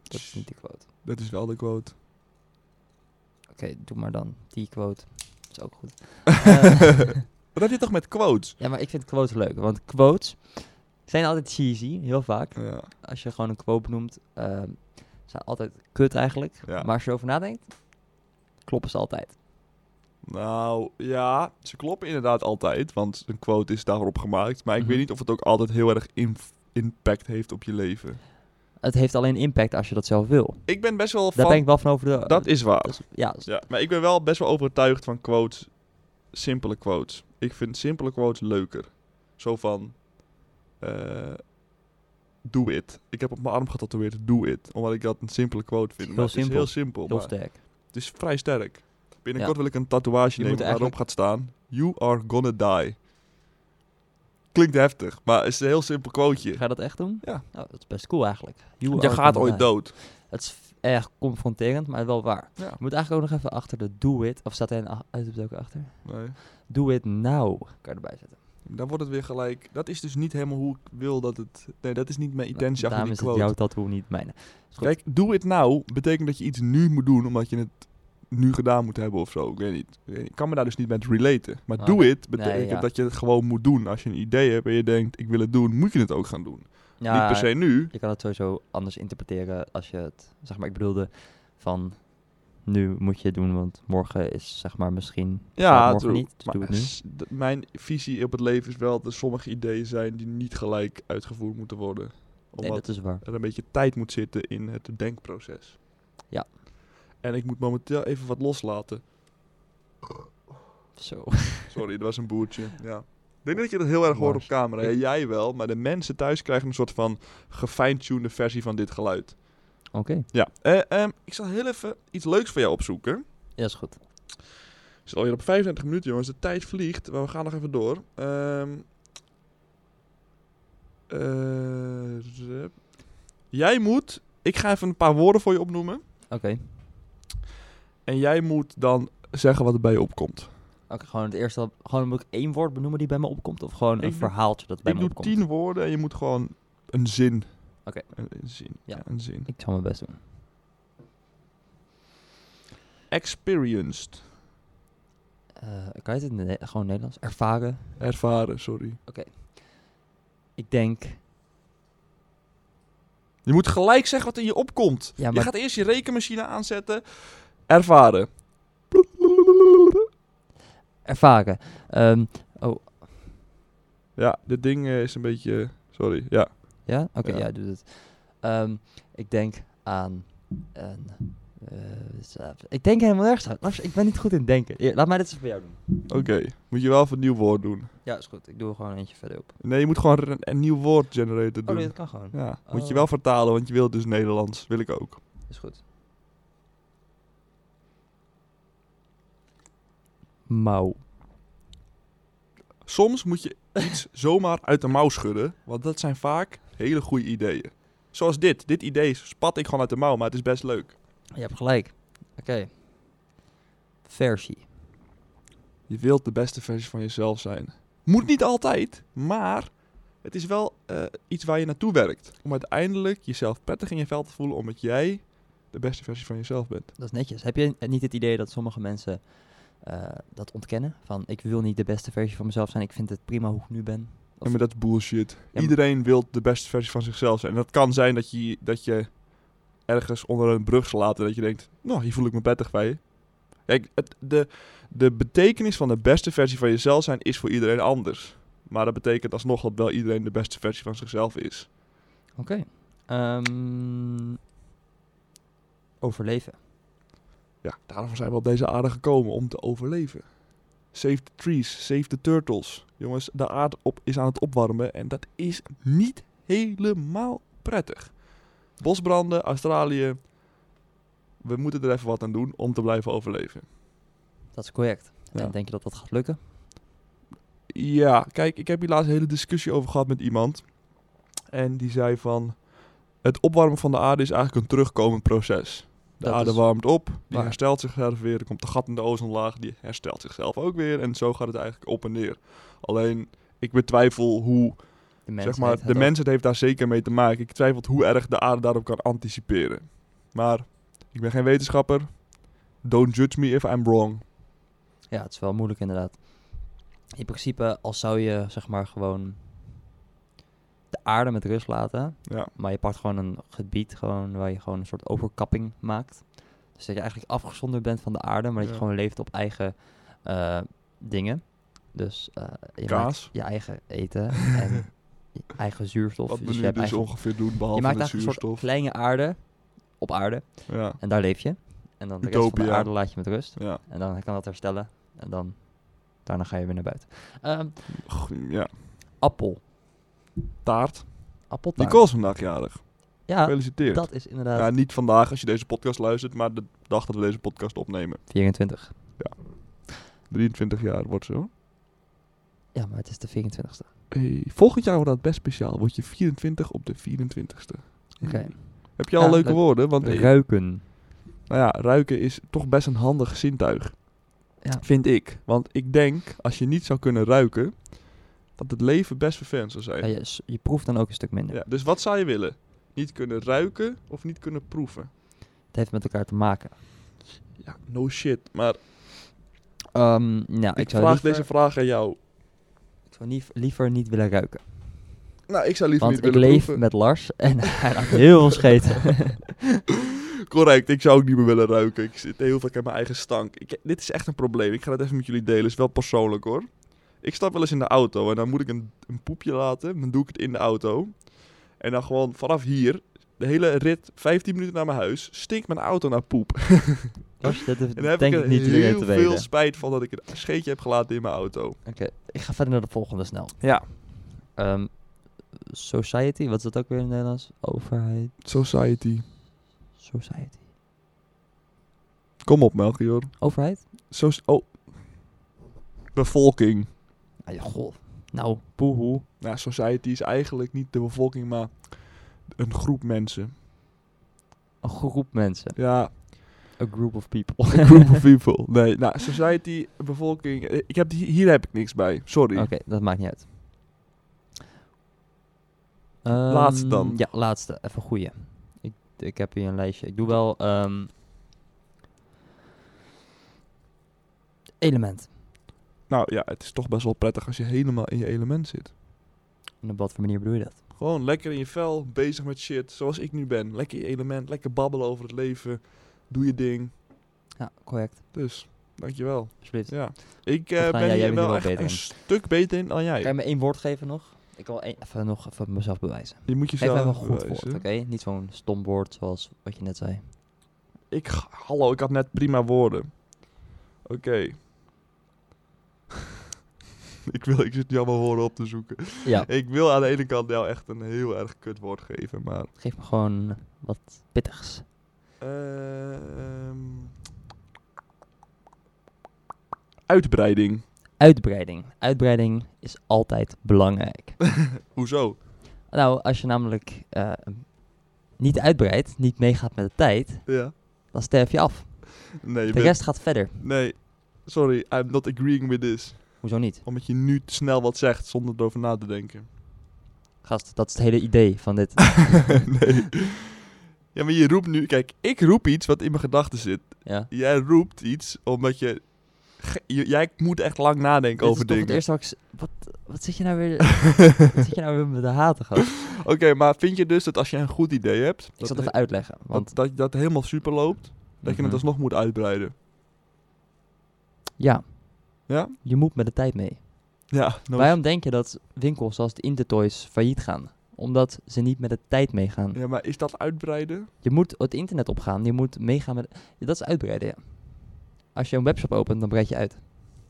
[SPEAKER 2] dat is niet die quote.
[SPEAKER 1] Dat is wel de quote.
[SPEAKER 2] Oké, doe maar dan. Die quote. Dat is ook goed. Eh,
[SPEAKER 1] Wat heb je toch met quotes?
[SPEAKER 2] ja, maar ik vind quotes leuk. Want quotes zijn altijd cheesy, heel vaak.
[SPEAKER 1] Ja,
[SPEAKER 2] Als je gewoon een quote noemt, ehm zijn altijd kut eigenlijk.
[SPEAKER 1] Ja.
[SPEAKER 2] Maar als je erover nadenkt, kloppen ze altijd.
[SPEAKER 1] Nou, ja, ze kloppen inderdaad altijd, want een quote is daarop gemaakt. Maar ik
[SPEAKER 2] Mhm.
[SPEAKER 1] weet niet of het ook altijd heel erg inv- impact heeft op je leven.
[SPEAKER 2] Het heeft alleen impact als je dat zelf wil.
[SPEAKER 1] Ik ben best wel
[SPEAKER 2] Daar
[SPEAKER 1] van...
[SPEAKER 2] ben ik wel van over de...
[SPEAKER 1] Dat is waar.
[SPEAKER 2] dat is- ja, s-
[SPEAKER 1] Ja, maar ik ben wel best wel overtuigd van quotes, simpele quotes. Ik vind simpele quotes leuker. Zo van, eh do it. Ik heb op mijn arm getatoeëerd, do it. Omdat ik dat een simpele quote vind.
[SPEAKER 2] Heel
[SPEAKER 1] Maar het is
[SPEAKER 2] simpel.
[SPEAKER 1] heel simpel.
[SPEAKER 2] heel
[SPEAKER 1] maar
[SPEAKER 2] sterk.
[SPEAKER 1] het is vrij sterk. Binnenkort
[SPEAKER 2] Ja.
[SPEAKER 1] wil ik een tatoeage
[SPEAKER 2] Je
[SPEAKER 1] nemen
[SPEAKER 2] moet
[SPEAKER 1] waarop
[SPEAKER 2] eigenlijk-
[SPEAKER 1] gaat staan, you are gonna die. Klinkt heftig, maar het is een heel simpel quoteje.
[SPEAKER 2] Ga je dat echt doen?
[SPEAKER 1] Ja.
[SPEAKER 2] Nou, dat is best cool eigenlijk. You
[SPEAKER 1] Je
[SPEAKER 2] are
[SPEAKER 1] gaat
[SPEAKER 2] gonna
[SPEAKER 1] ooit
[SPEAKER 2] die.
[SPEAKER 1] dood.
[SPEAKER 2] Het is f- erg confronterend, maar wel waar.
[SPEAKER 1] Ja.
[SPEAKER 2] Je moet eigenlijk ook nog even achter de do it, of staat er een a- uitroepteken achter?
[SPEAKER 1] Nee.
[SPEAKER 2] Do it now, kan je erbij zetten.
[SPEAKER 1] Dan wordt het weer gelijk. Dat is dus niet helemaal hoe ik wil dat het. Nee, dat is niet mijn intentie
[SPEAKER 2] Daarom
[SPEAKER 1] achter die
[SPEAKER 2] is
[SPEAKER 1] quote.
[SPEAKER 2] het jouw tattoo, niet mijne. Is goed.
[SPEAKER 1] Kijk, do it now betekent dat je iets nu moet doen omdat je het nu gedaan moet hebben of zo. Ik weet niet. Ik weet niet. Ik kan me daar dus niet met relaten. Maar
[SPEAKER 2] Ah,
[SPEAKER 1] do
[SPEAKER 2] oké.
[SPEAKER 1] it betekent
[SPEAKER 2] Nee, ja.
[SPEAKER 1] dat je het gewoon moet doen. Als je een idee hebt en je denkt ik wil het doen, moet je het ook gaan doen.
[SPEAKER 2] Ja,
[SPEAKER 1] Niet per se nu.
[SPEAKER 2] Je kan het sowieso anders interpreteren als je het, zeg maar, ik bedoelde van nu moet je het doen, want morgen is zeg maar misschien bestaat morgen
[SPEAKER 1] true.
[SPEAKER 2] niet. Dus
[SPEAKER 1] Maar
[SPEAKER 2] doe het nu.
[SPEAKER 1] s- d- mijn visie op het leven is wel dat er sommige ideeën zijn die niet gelijk uitgevoerd moeten worden.
[SPEAKER 2] Nee,
[SPEAKER 1] Omdat
[SPEAKER 2] dat is waar.
[SPEAKER 1] er een beetje tijd moet zitten in het denkproces.
[SPEAKER 2] Ja.
[SPEAKER 1] En ik moet momenteel even wat loslaten.
[SPEAKER 2] Zo.
[SPEAKER 1] Sorry, dat was een boertje. Ja. Ik denk dat je dat heel erg hoort op
[SPEAKER 2] Mars.
[SPEAKER 1] camera. Ja,
[SPEAKER 2] Ik-
[SPEAKER 1] jij wel, maar de mensen thuis krijgen een soort van gefine-tunede versie van dit geluid.
[SPEAKER 2] Oké.
[SPEAKER 1] Ja, eh, ehm, ik zal heel even iets leuks voor jou opzoeken.
[SPEAKER 2] Ja, is goed.
[SPEAKER 1] We zitten alweer op 25 minuten, jongens. De tijd vliegt, maar we gaan nog even door. Ehm, eh, zup. jij moet... Ik ga even een paar woorden voor je opnoemen.
[SPEAKER 2] Oké.
[SPEAKER 1] En jij moet dan zeggen wat er bij je opkomt.
[SPEAKER 2] Oké, gewoon het eerste, dat- gewoon moet ik één woord benoemen die bij me opkomt? Of gewoon
[SPEAKER 1] Ik
[SPEAKER 2] een
[SPEAKER 1] doe-
[SPEAKER 2] verhaaltje dat bij
[SPEAKER 1] ik
[SPEAKER 2] me
[SPEAKER 1] doe
[SPEAKER 2] opkomt?
[SPEAKER 1] 10 woorden en je moet gewoon een zin.
[SPEAKER 2] Oké.
[SPEAKER 1] Een, een zin. Ja.
[SPEAKER 2] Ja.
[SPEAKER 1] een zin.
[SPEAKER 2] Ik zal mijn best doen.
[SPEAKER 1] Experienced.
[SPEAKER 2] Eh, kan je het in het Ne- gewoon Nederlands? Ervaren?
[SPEAKER 1] Ervaren, sorry.
[SPEAKER 2] Ik denk,
[SPEAKER 1] Je moet gelijk zeggen wat er je opkomt.
[SPEAKER 2] Ja, maar-
[SPEAKER 1] Je gaat eerst je rekenmachine aanzetten. Ervaren.
[SPEAKER 2] ervaren. Ehm, oh,
[SPEAKER 1] Ja, dit ding eh, is een beetje... Sorry, ja.
[SPEAKER 2] Ja? Oké,
[SPEAKER 1] Ja.
[SPEAKER 2] ja. doe het. Ehm, ik denk aan een... eh, za- ik denk helemaal nergens aan. Lars, ik ben niet goed in denken. Hier, laat mij dit eens voor jou doen.
[SPEAKER 1] Oké, moet je wel even een nieuw woord doen.
[SPEAKER 2] Ja, is goed. Ik doe er gewoon eentje verder op.
[SPEAKER 1] Nee, je moet gewoon een, een nieuw woord generator
[SPEAKER 2] Oh
[SPEAKER 1] doen.
[SPEAKER 2] nee, dat kan gewoon.
[SPEAKER 1] Ja, moet je
[SPEAKER 2] Oh.
[SPEAKER 1] wel vertalen, want je wilt dus Nederlands. Wil ik ook.
[SPEAKER 2] Is goed. Mouw.
[SPEAKER 1] Soms moet je iets zomaar uit de mouw schudden, want dat zijn vaak hele goede ideeën. Zoals dit. Dit idee is- spat ik gewoon uit de mouw, maar het is best leuk.
[SPEAKER 2] Je hebt gelijk. Oké. Versie.
[SPEAKER 1] Je wilt de beste versie van jezelf zijn. Moet niet altijd, maar het is wel eh, iets waar je naartoe werkt. Om uiteindelijk jezelf prettig in je vel te voelen, omdat jij de beste versie van jezelf bent.
[SPEAKER 2] Dat is netjes. Heb je niet het idee dat sommige mensen eh, dat ontkennen? Van, ik wil niet de beste versie van mezelf zijn. Ik vind het prima hoe ik nu ben.
[SPEAKER 1] Ja, maar dat is bullshit.
[SPEAKER 2] maar-
[SPEAKER 1] Iedereen wil de beste versie van zichzelf zijn. En dat kan zijn dat je, dat je ergens onder een brug slaat en dat je denkt, nou, hier voel ik me prettig bij. Kijk, het, de, de betekenis van de beste versie van jezelf zijn is voor iedereen anders. Maar dat betekent alsnog dat wel iedereen de beste versie van zichzelf is.
[SPEAKER 2] Oké. Ehm, overleven.
[SPEAKER 1] Ja, daarom zijn we op deze aarde gekomen, om te overleven. Save the trees, save the turtles. Jongens, de aarde op, is aan het opwarmen en dat is niet helemaal prettig. Bosbranden, Australië. We moeten er even wat aan doen om te blijven overleven.
[SPEAKER 2] Dat is correct.
[SPEAKER 1] Ja.
[SPEAKER 2] En denk je dat dat gaat lukken?
[SPEAKER 1] Ja, kijk, ik heb hier laatst een hele discussie over gehad met iemand. En die zei van, het opwarmen van de aarde is eigenlijk een terugkomend proces. De
[SPEAKER 2] Dat
[SPEAKER 1] aarde
[SPEAKER 2] is-
[SPEAKER 1] warmt op, die
[SPEAKER 2] Ja.
[SPEAKER 1] herstelt zichzelf weer. Er komt een gat in de ozonlaag, die herstelt zichzelf ook weer. En zo gaat het eigenlijk op en neer. Alleen, ik betwijfel hoe,
[SPEAKER 2] De
[SPEAKER 1] zeg
[SPEAKER 2] mensheid
[SPEAKER 1] maar,
[SPEAKER 2] het
[SPEAKER 1] de
[SPEAKER 2] ook.
[SPEAKER 1] mensheid heeft daar zeker mee te maken. Ik twijfel hoe erg de aarde daarop kan anticiperen. Maar, ik ben geen wetenschapper. Don't judge me if I'm wrong.
[SPEAKER 2] Ja, het is wel moeilijk inderdaad. In principe, als zou je zeg maar gewoon de aarde met rust laten,
[SPEAKER 1] Ja.
[SPEAKER 2] maar je pakt gewoon een gebied gewoon, waar je gewoon een soort overkapping maakt. Dus dat je eigenlijk afgezonderd bent van de aarde, maar dat
[SPEAKER 1] Ja.
[SPEAKER 2] je gewoon leeft op eigen eh, dingen. Dus eh, je maakt
[SPEAKER 1] Kaas.
[SPEAKER 2] je eigen eten en je eigen zuurstof.
[SPEAKER 1] Wat we
[SPEAKER 2] dus je
[SPEAKER 1] nu
[SPEAKER 2] hebt
[SPEAKER 1] dus
[SPEAKER 2] eigen
[SPEAKER 1] ongeveer doen, behalve
[SPEAKER 2] Je maakt
[SPEAKER 1] de
[SPEAKER 2] eigenlijk een soort
[SPEAKER 1] zuurstof.
[SPEAKER 2] kleine aarde op aarde.
[SPEAKER 1] Ja,
[SPEAKER 2] En daar leef je. En dan de rest van
[SPEAKER 1] Utopia.
[SPEAKER 2] de aarde laat je met rust.
[SPEAKER 1] ja.
[SPEAKER 2] En dan kan dat herstellen. En dan daarna ga je weer naar buiten. Ehm,
[SPEAKER 1] Goh, ja.
[SPEAKER 2] appel.
[SPEAKER 1] Taart.
[SPEAKER 2] Appeltaart.
[SPEAKER 1] Nicole is vandaag nou jarig.
[SPEAKER 2] Ja,
[SPEAKER 1] Gefeliciteerd.
[SPEAKER 2] dat is inderdaad
[SPEAKER 1] Ja, niet vandaag als je deze podcast luistert, maar de dag dat we deze podcast opnemen.
[SPEAKER 2] 24.
[SPEAKER 1] 23 jaar wordt ze hoor.
[SPEAKER 2] Ja, maar het is de 24ste.
[SPEAKER 1] Hey, volgend jaar wordt dat best speciaal. Word je 24 op de 24ste.
[SPEAKER 2] Oké.
[SPEAKER 1] Heb je al
[SPEAKER 2] Ja,
[SPEAKER 1] leuke
[SPEAKER 2] leuk.
[SPEAKER 1] woorden? Mm. Want eh,
[SPEAKER 2] Ruiken.
[SPEAKER 1] nou ja, ruiken is toch best een handig zintuig.
[SPEAKER 2] Ja.
[SPEAKER 1] Vind ik. Want ik denk, als je niet zou kunnen ruiken, dat het leven best vervelend zou
[SPEAKER 2] Ja,
[SPEAKER 1] zijn.
[SPEAKER 2] je, s- je proeft dan ook een stuk minder.
[SPEAKER 1] Ja, dus wat zou je willen? Niet kunnen ruiken of niet kunnen proeven?
[SPEAKER 2] Het heeft met elkaar te maken.
[SPEAKER 1] Ja, no shit. Maar
[SPEAKER 2] Ehm, nou, ik,
[SPEAKER 1] ik
[SPEAKER 2] zou
[SPEAKER 1] vraag
[SPEAKER 2] liever,
[SPEAKER 1] deze vraag aan jou.
[SPEAKER 2] ik zou lief- liever niet willen ruiken.
[SPEAKER 1] Nou, ik zou liever
[SPEAKER 2] Want
[SPEAKER 1] niet
[SPEAKER 2] ik
[SPEAKER 1] willen
[SPEAKER 2] leef
[SPEAKER 1] proeven.
[SPEAKER 2] met Lars en hij had heel veel scheten.
[SPEAKER 1] Correct, ik zou ook niet meer willen ruiken. Ik zit heel vaak aan mijn eigen stank. Ik, dit is echt een probleem. Ik ga dat even met jullie delen. Is wel persoonlijk hoor. Ik stap wel eens in de auto en dan moet ik een, een poepje laten. Dan doe ik het in de auto. En dan gewoon vanaf hier, de hele rit, 15 minuten naar mijn huis, stinkt mijn auto naar poep.
[SPEAKER 2] Lars, dat
[SPEAKER 1] En daar heb
[SPEAKER 2] denk ik
[SPEAKER 1] ik er
[SPEAKER 2] niet iedereen
[SPEAKER 1] heel
[SPEAKER 2] te
[SPEAKER 1] veel
[SPEAKER 2] weten.
[SPEAKER 1] spijt van dat ik een scheetje heb gelaten in mijn auto.
[SPEAKER 2] Oké, ik ga verder naar de volgende snel.
[SPEAKER 1] Ja.
[SPEAKER 2] Ehm, society, wat is dat ook weer in het Nederlands? Overheid,
[SPEAKER 1] Society.
[SPEAKER 2] society.
[SPEAKER 1] Kom op Melchior.
[SPEAKER 2] Overheid?
[SPEAKER 1] So oh. Bevolking.
[SPEAKER 2] Ah, ja, goh. Nou, poehoe.
[SPEAKER 1] Nou, society is eigenlijk niet de bevolking, maar een groep mensen.
[SPEAKER 2] Een groep mensen.
[SPEAKER 1] Ja,
[SPEAKER 2] A group of people.
[SPEAKER 1] A group of people. Nee, nou, society, bevolking. eh, Ik heb, die- hier heb ik niks bij. Sorry.
[SPEAKER 2] Oké, dat maakt niet uit. Ehm,
[SPEAKER 1] Laatste dan.
[SPEAKER 2] Ja, laatste. Even goeie. Ik, ik heb hier een lijstje. Ik doe wel... ehm, element.
[SPEAKER 1] Nou ja, het is toch best wel prettig als je helemaal in je element zit.
[SPEAKER 2] En op wat voor manier bedoel je dat?
[SPEAKER 1] Gewoon lekker in je vel, bezig met shit, zoals ik nu ben. Lekker in je element, lekker babbelen over het leven. Doe je ding.
[SPEAKER 2] Ja, correct.
[SPEAKER 1] Dus, dankjewel.
[SPEAKER 2] Alsblieft.
[SPEAKER 1] Ja. Ik eh,
[SPEAKER 2] Volgens mij, ja,
[SPEAKER 1] ben
[SPEAKER 2] jij
[SPEAKER 1] hier
[SPEAKER 2] bent hier
[SPEAKER 1] wel,
[SPEAKER 2] wel
[SPEAKER 1] echt
[SPEAKER 2] beter
[SPEAKER 1] een
[SPEAKER 2] in.
[SPEAKER 1] stuk beter in dan
[SPEAKER 2] Kan je
[SPEAKER 1] jij.
[SPEAKER 2] me één woord geven nog? Ik wil één- even nog even mezelf bewijzen.
[SPEAKER 1] Je moet
[SPEAKER 2] Geef
[SPEAKER 1] jezelf
[SPEAKER 2] me even een goed woord,
[SPEAKER 1] bewijzen.
[SPEAKER 2] oké? Niet zo'n stom woord zoals wat je net zei.
[SPEAKER 1] Ik, hallo, ik had net prima woorden. Oké. ik, wil, ik zit nu allemaal woorden op te zoeken.
[SPEAKER 2] Ja,
[SPEAKER 1] Ik wil aan de ene kant jou echt een heel erg kut woord geven, maar...
[SPEAKER 2] geef me gewoon wat pittigs.
[SPEAKER 1] ehm, uitbreiding.
[SPEAKER 2] Uitbreiding. Uitbreiding is altijd belangrijk.
[SPEAKER 1] Hoezo?
[SPEAKER 2] nou, als je namelijk eh, niet uitbreidt, niet meegaat met de tijd,
[SPEAKER 1] Ja.
[SPEAKER 2] dan sterf je af.
[SPEAKER 1] Nee, je
[SPEAKER 2] de
[SPEAKER 1] bent-
[SPEAKER 2] rest gaat verder.
[SPEAKER 1] nee, sorry, I'm not agreeing with this.
[SPEAKER 2] Hoezo niet?
[SPEAKER 1] Omdat je nu te snel wat zegt zonder erover na te denken.
[SPEAKER 2] Gast, dat is het hele idee van dit.
[SPEAKER 1] nee. Ja, maar je roept nu... Kijk, ik roep iets wat in mijn gedachten zit.
[SPEAKER 2] ja.
[SPEAKER 1] Jij roept iets omdat je... ge- j- Jij moet echt lang nadenken
[SPEAKER 2] Dit is
[SPEAKER 1] over
[SPEAKER 2] toch het
[SPEAKER 1] dingen.
[SPEAKER 2] eerste wat ik... s- Wat, wat zit je nou weer... wat zit je nou weer met de haten, gast?
[SPEAKER 1] Oké, maar vind je dus dat als je een goed idee hebt...
[SPEAKER 2] Ik
[SPEAKER 1] dat
[SPEAKER 2] zal het
[SPEAKER 1] he-
[SPEAKER 2] even uitleggen, want...
[SPEAKER 1] dat, dat, dat helemaal super loopt, dat je het
[SPEAKER 2] Mhm.
[SPEAKER 1] alsnog moet uitbreiden.
[SPEAKER 2] Ja.
[SPEAKER 1] Ja?
[SPEAKER 2] Je moet met de tijd mee.
[SPEAKER 1] Ja, nou,
[SPEAKER 2] Waarom denk je dat winkels zoals de Intertoys failliet gaan? Omdat ze niet met de tijd meegaan.
[SPEAKER 1] ja, maar is dat uitbreiden?
[SPEAKER 2] Je moet het internet opgaan, je moet meegaan met... Ja, dat is uitbreiden, ja. Als je een webshop opent, dan breid je uit.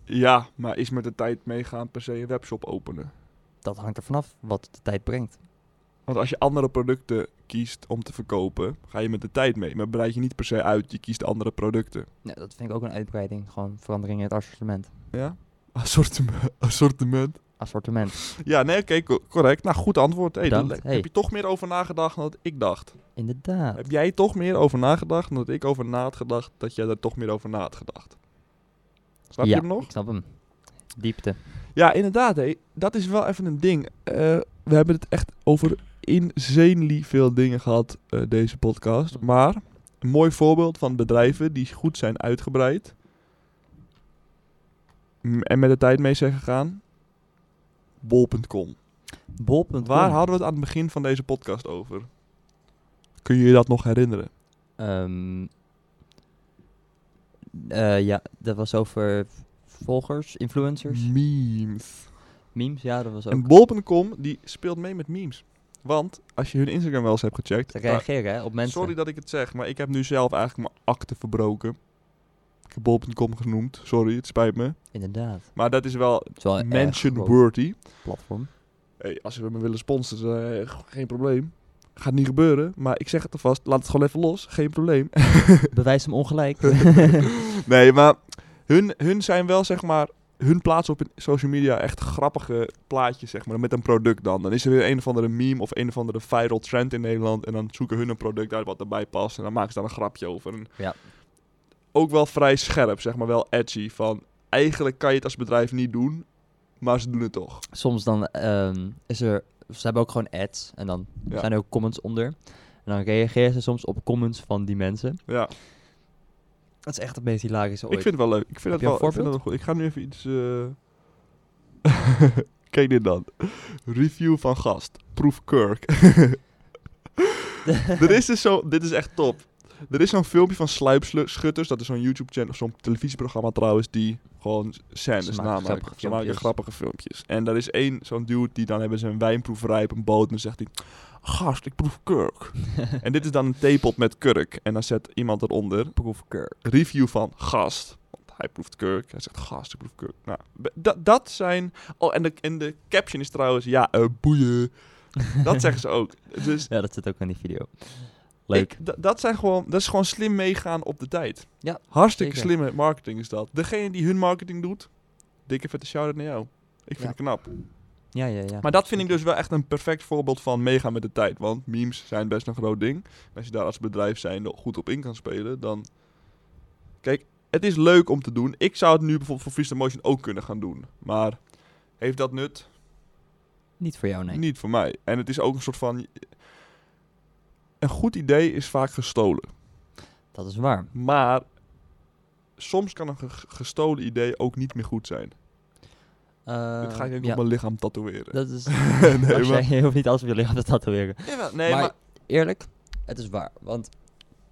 [SPEAKER 1] Ja, maar is met de tijd meegaan per se een webshop openen?
[SPEAKER 2] Dat hangt er vanaf wat de tijd brengt.
[SPEAKER 1] Want als je andere producten kiest om te verkopen, ga je met de tijd mee. Maar breid je niet per se uit, je kiest andere producten.
[SPEAKER 2] Ja, dat vind ik ook een uitbreiding. Gewoon verandering in het assortiment.
[SPEAKER 1] Ja? Assortiment. assortiment.
[SPEAKER 2] Assortiment.
[SPEAKER 1] Ja, nee, oké, co- correct. Nou, goed antwoord. Hey,
[SPEAKER 2] Bedankt.
[SPEAKER 1] dan
[SPEAKER 2] Hey.
[SPEAKER 1] Heb je toch meer over nagedacht dan dat ik dacht?
[SPEAKER 2] Inderdaad.
[SPEAKER 1] Heb jij toch meer over nagedacht dan dat ik over na had gedacht, dat jij er toch meer over na had gedacht? Snap
[SPEAKER 2] ja,
[SPEAKER 1] je hem nog?
[SPEAKER 2] ik snap hem. Diepte.
[SPEAKER 1] Ja, inderdaad, hé. dat is wel even een ding. Eh, we hebben het echt over insanely veel dingen gehad, eh, deze podcast. Maar een mooi voorbeeld van bedrijven die goed zijn uitgebreid. M- En met de tijd mee zijn gegaan. Bol.com.
[SPEAKER 2] Bol.com.
[SPEAKER 1] Waar hadden we het aan het begin van deze podcast over? Kun je je dat nog herinneren?
[SPEAKER 2] Ehm, eh, ja, dat was over volgers, influencers,
[SPEAKER 1] Memes.
[SPEAKER 2] memes. Ja, dat was ook...
[SPEAKER 1] Mm. En bol.com die speelt mee met memes. Want als je hun Instagram wel eens hebt gecheckt,
[SPEAKER 2] Te
[SPEAKER 1] daar-
[SPEAKER 2] reageren hè, op mensen.
[SPEAKER 1] Sorry dat ik het zeg, maar ik heb nu zelf eigenlijk mijn akte verbroken. Ik heb bol.com genoemd. Sorry, het spijt me.
[SPEAKER 2] Inderdaad.
[SPEAKER 1] Maar dat is wel
[SPEAKER 2] Het is wel een erg groot
[SPEAKER 1] mention-worthy.
[SPEAKER 2] platform.
[SPEAKER 1] Hey, als we me willen sponsoren, eh, g- geen probleem. Gaat niet gebeuren, maar ik zeg het alvast. Laat het gewoon even los. Geen probleem.
[SPEAKER 2] Bewijs hem ongelijk.
[SPEAKER 1] nee, maar hun, hun zijn wel, zeg maar... Hun plaatsen op in social media echt grappige plaatjes, zeg maar, met een product dan. Dan is er weer een of andere meme of een of andere viral trend in Nederland. En dan zoeken hun een product uit wat erbij past. En dan maken ze daar een grapje over. En
[SPEAKER 2] Ja.
[SPEAKER 1] Ook wel vrij scherp, zeg maar, wel edgy. Van, eigenlijk kan je het als bedrijf niet doen, maar ze doen het toch.
[SPEAKER 2] Soms dan ehm, is er... Ze hebben ook gewoon ads en dan
[SPEAKER 1] Ja.
[SPEAKER 2] zijn er ook comments onder. En dan reageren ze soms op comments van die mensen.
[SPEAKER 1] Ja,
[SPEAKER 2] Dat is echt het meest hilarische
[SPEAKER 1] ik
[SPEAKER 2] ooit.
[SPEAKER 1] vind het wel leuk. Ik vind
[SPEAKER 2] Heb
[SPEAKER 1] het
[SPEAKER 2] je een
[SPEAKER 1] wel, ik vind het
[SPEAKER 2] voorbeeld?
[SPEAKER 1] wel goed. Ik ga nu even iets... eh, Kijk dit dan. Review van gast. Proef Kirk. er is dus zo, dit is echt top. Er is zo'n filmpje van Sluipschutters. Dat is zo'n YouTube-channel, of zo'n televisieprogramma trouwens, die gewoon scènes
[SPEAKER 2] Ze maken
[SPEAKER 1] namaken.
[SPEAKER 2] grappige
[SPEAKER 1] Ze maken
[SPEAKER 2] filmpjes.
[SPEAKER 1] grappige filmpjes. En daar is één zo'n dude, die dan hebben ze een wijnproeverij op een boot. En dan zegt hij, gast, ik proef kurk. en dit is dan een theepot met kurk. En dan zet iemand eronder,
[SPEAKER 2] Proef Kirk.
[SPEAKER 1] review van gast. Want hij proeft kurk. Hij zegt gast, ik proef kurk. Nou, b- dat- dat zijn... Oh, en de, en de caption is trouwens, ja, eh, boeien. Dat zeggen ze ook. Dus
[SPEAKER 2] Ja, dat zit ook in die video. Leuk.
[SPEAKER 1] ik- da- dat, zijn gewoon, dat is gewoon slim meegaan op de tijd.
[SPEAKER 2] Ja,
[SPEAKER 1] Hartstikke
[SPEAKER 2] zeker.
[SPEAKER 1] slimme marketing is dat. Degene die hun marketing doet, dikke vette shout-out naar jou. Ik vind
[SPEAKER 2] Ja.
[SPEAKER 1] het knap.
[SPEAKER 2] Ja, ja, ja.
[SPEAKER 1] Maar dat vind ik dus wel echt een perfect voorbeeld van meegaan met de tijd. Want memes zijn best een groot ding. En als je daar als bedrijf zijnde goed op in kan spelen, dan... Kijk, het is leuk om te doen. Ik zou het nu bijvoorbeeld voor Freestyle Motion ook kunnen gaan doen. Maar heeft dat nut?
[SPEAKER 2] Niet voor jou, nee.
[SPEAKER 1] Niet voor mij. En het is ook een soort van... Een goed idee is vaak gestolen.
[SPEAKER 2] Dat is waar.
[SPEAKER 1] Maar soms kan een ge- gestolen idee ook niet meer goed zijn.
[SPEAKER 2] Eh,
[SPEAKER 1] Dit ga ik ook
[SPEAKER 2] ja,
[SPEAKER 1] op mijn lichaam tatoeëren.
[SPEAKER 2] Dat is...
[SPEAKER 1] Nee,
[SPEAKER 2] Als
[SPEAKER 1] maar-
[SPEAKER 2] jij- Je hoeft niet alles op je lichaam te tatoeëren.
[SPEAKER 1] Jawel, nee,
[SPEAKER 2] maar,
[SPEAKER 1] maar...
[SPEAKER 2] eerlijk, het is waar. Want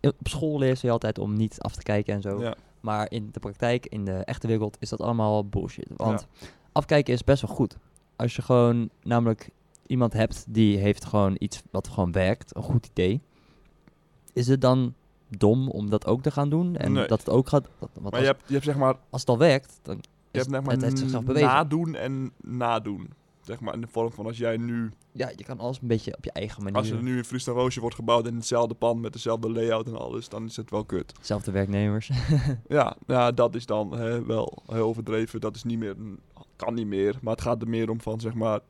[SPEAKER 2] op school leer je altijd om niet af te kijken en zo.
[SPEAKER 1] Ja,
[SPEAKER 2] Maar in de praktijk, in de echte wereld, is dat allemaal bullshit. Want afkijken is best wel goed. Als je gewoon namelijk iemand hebt die heeft gewoon iets wat gewoon werkt, een goed idee. Is het dan dom om dat ook te gaan doen? En
[SPEAKER 1] Nee.
[SPEAKER 2] dat het ook gaat... Want
[SPEAKER 1] maar
[SPEAKER 2] als,
[SPEAKER 1] je hebt, je hebt zeg maar...
[SPEAKER 2] als het al werkt, dan is
[SPEAKER 1] Je hebt zeg maar
[SPEAKER 2] Dus het heeft zichzelf bewezen.
[SPEAKER 1] nadoen en nadoen. Zeg maar in de vorm van als jij nu...
[SPEAKER 2] Ja, je kan alles een beetje op je eigen manier.
[SPEAKER 1] Als er nu een Freestyle Roosje wordt gebouwd in hetzelfde pand met dezelfde layout en alles, dan is het wel kut.
[SPEAKER 2] Zelfde werknemers.
[SPEAKER 1] Ja, ja dat is dan hè, wel heel overdreven. Dat is niet meer, een- kan niet meer. Maar het gaat er meer om van, zeg maar,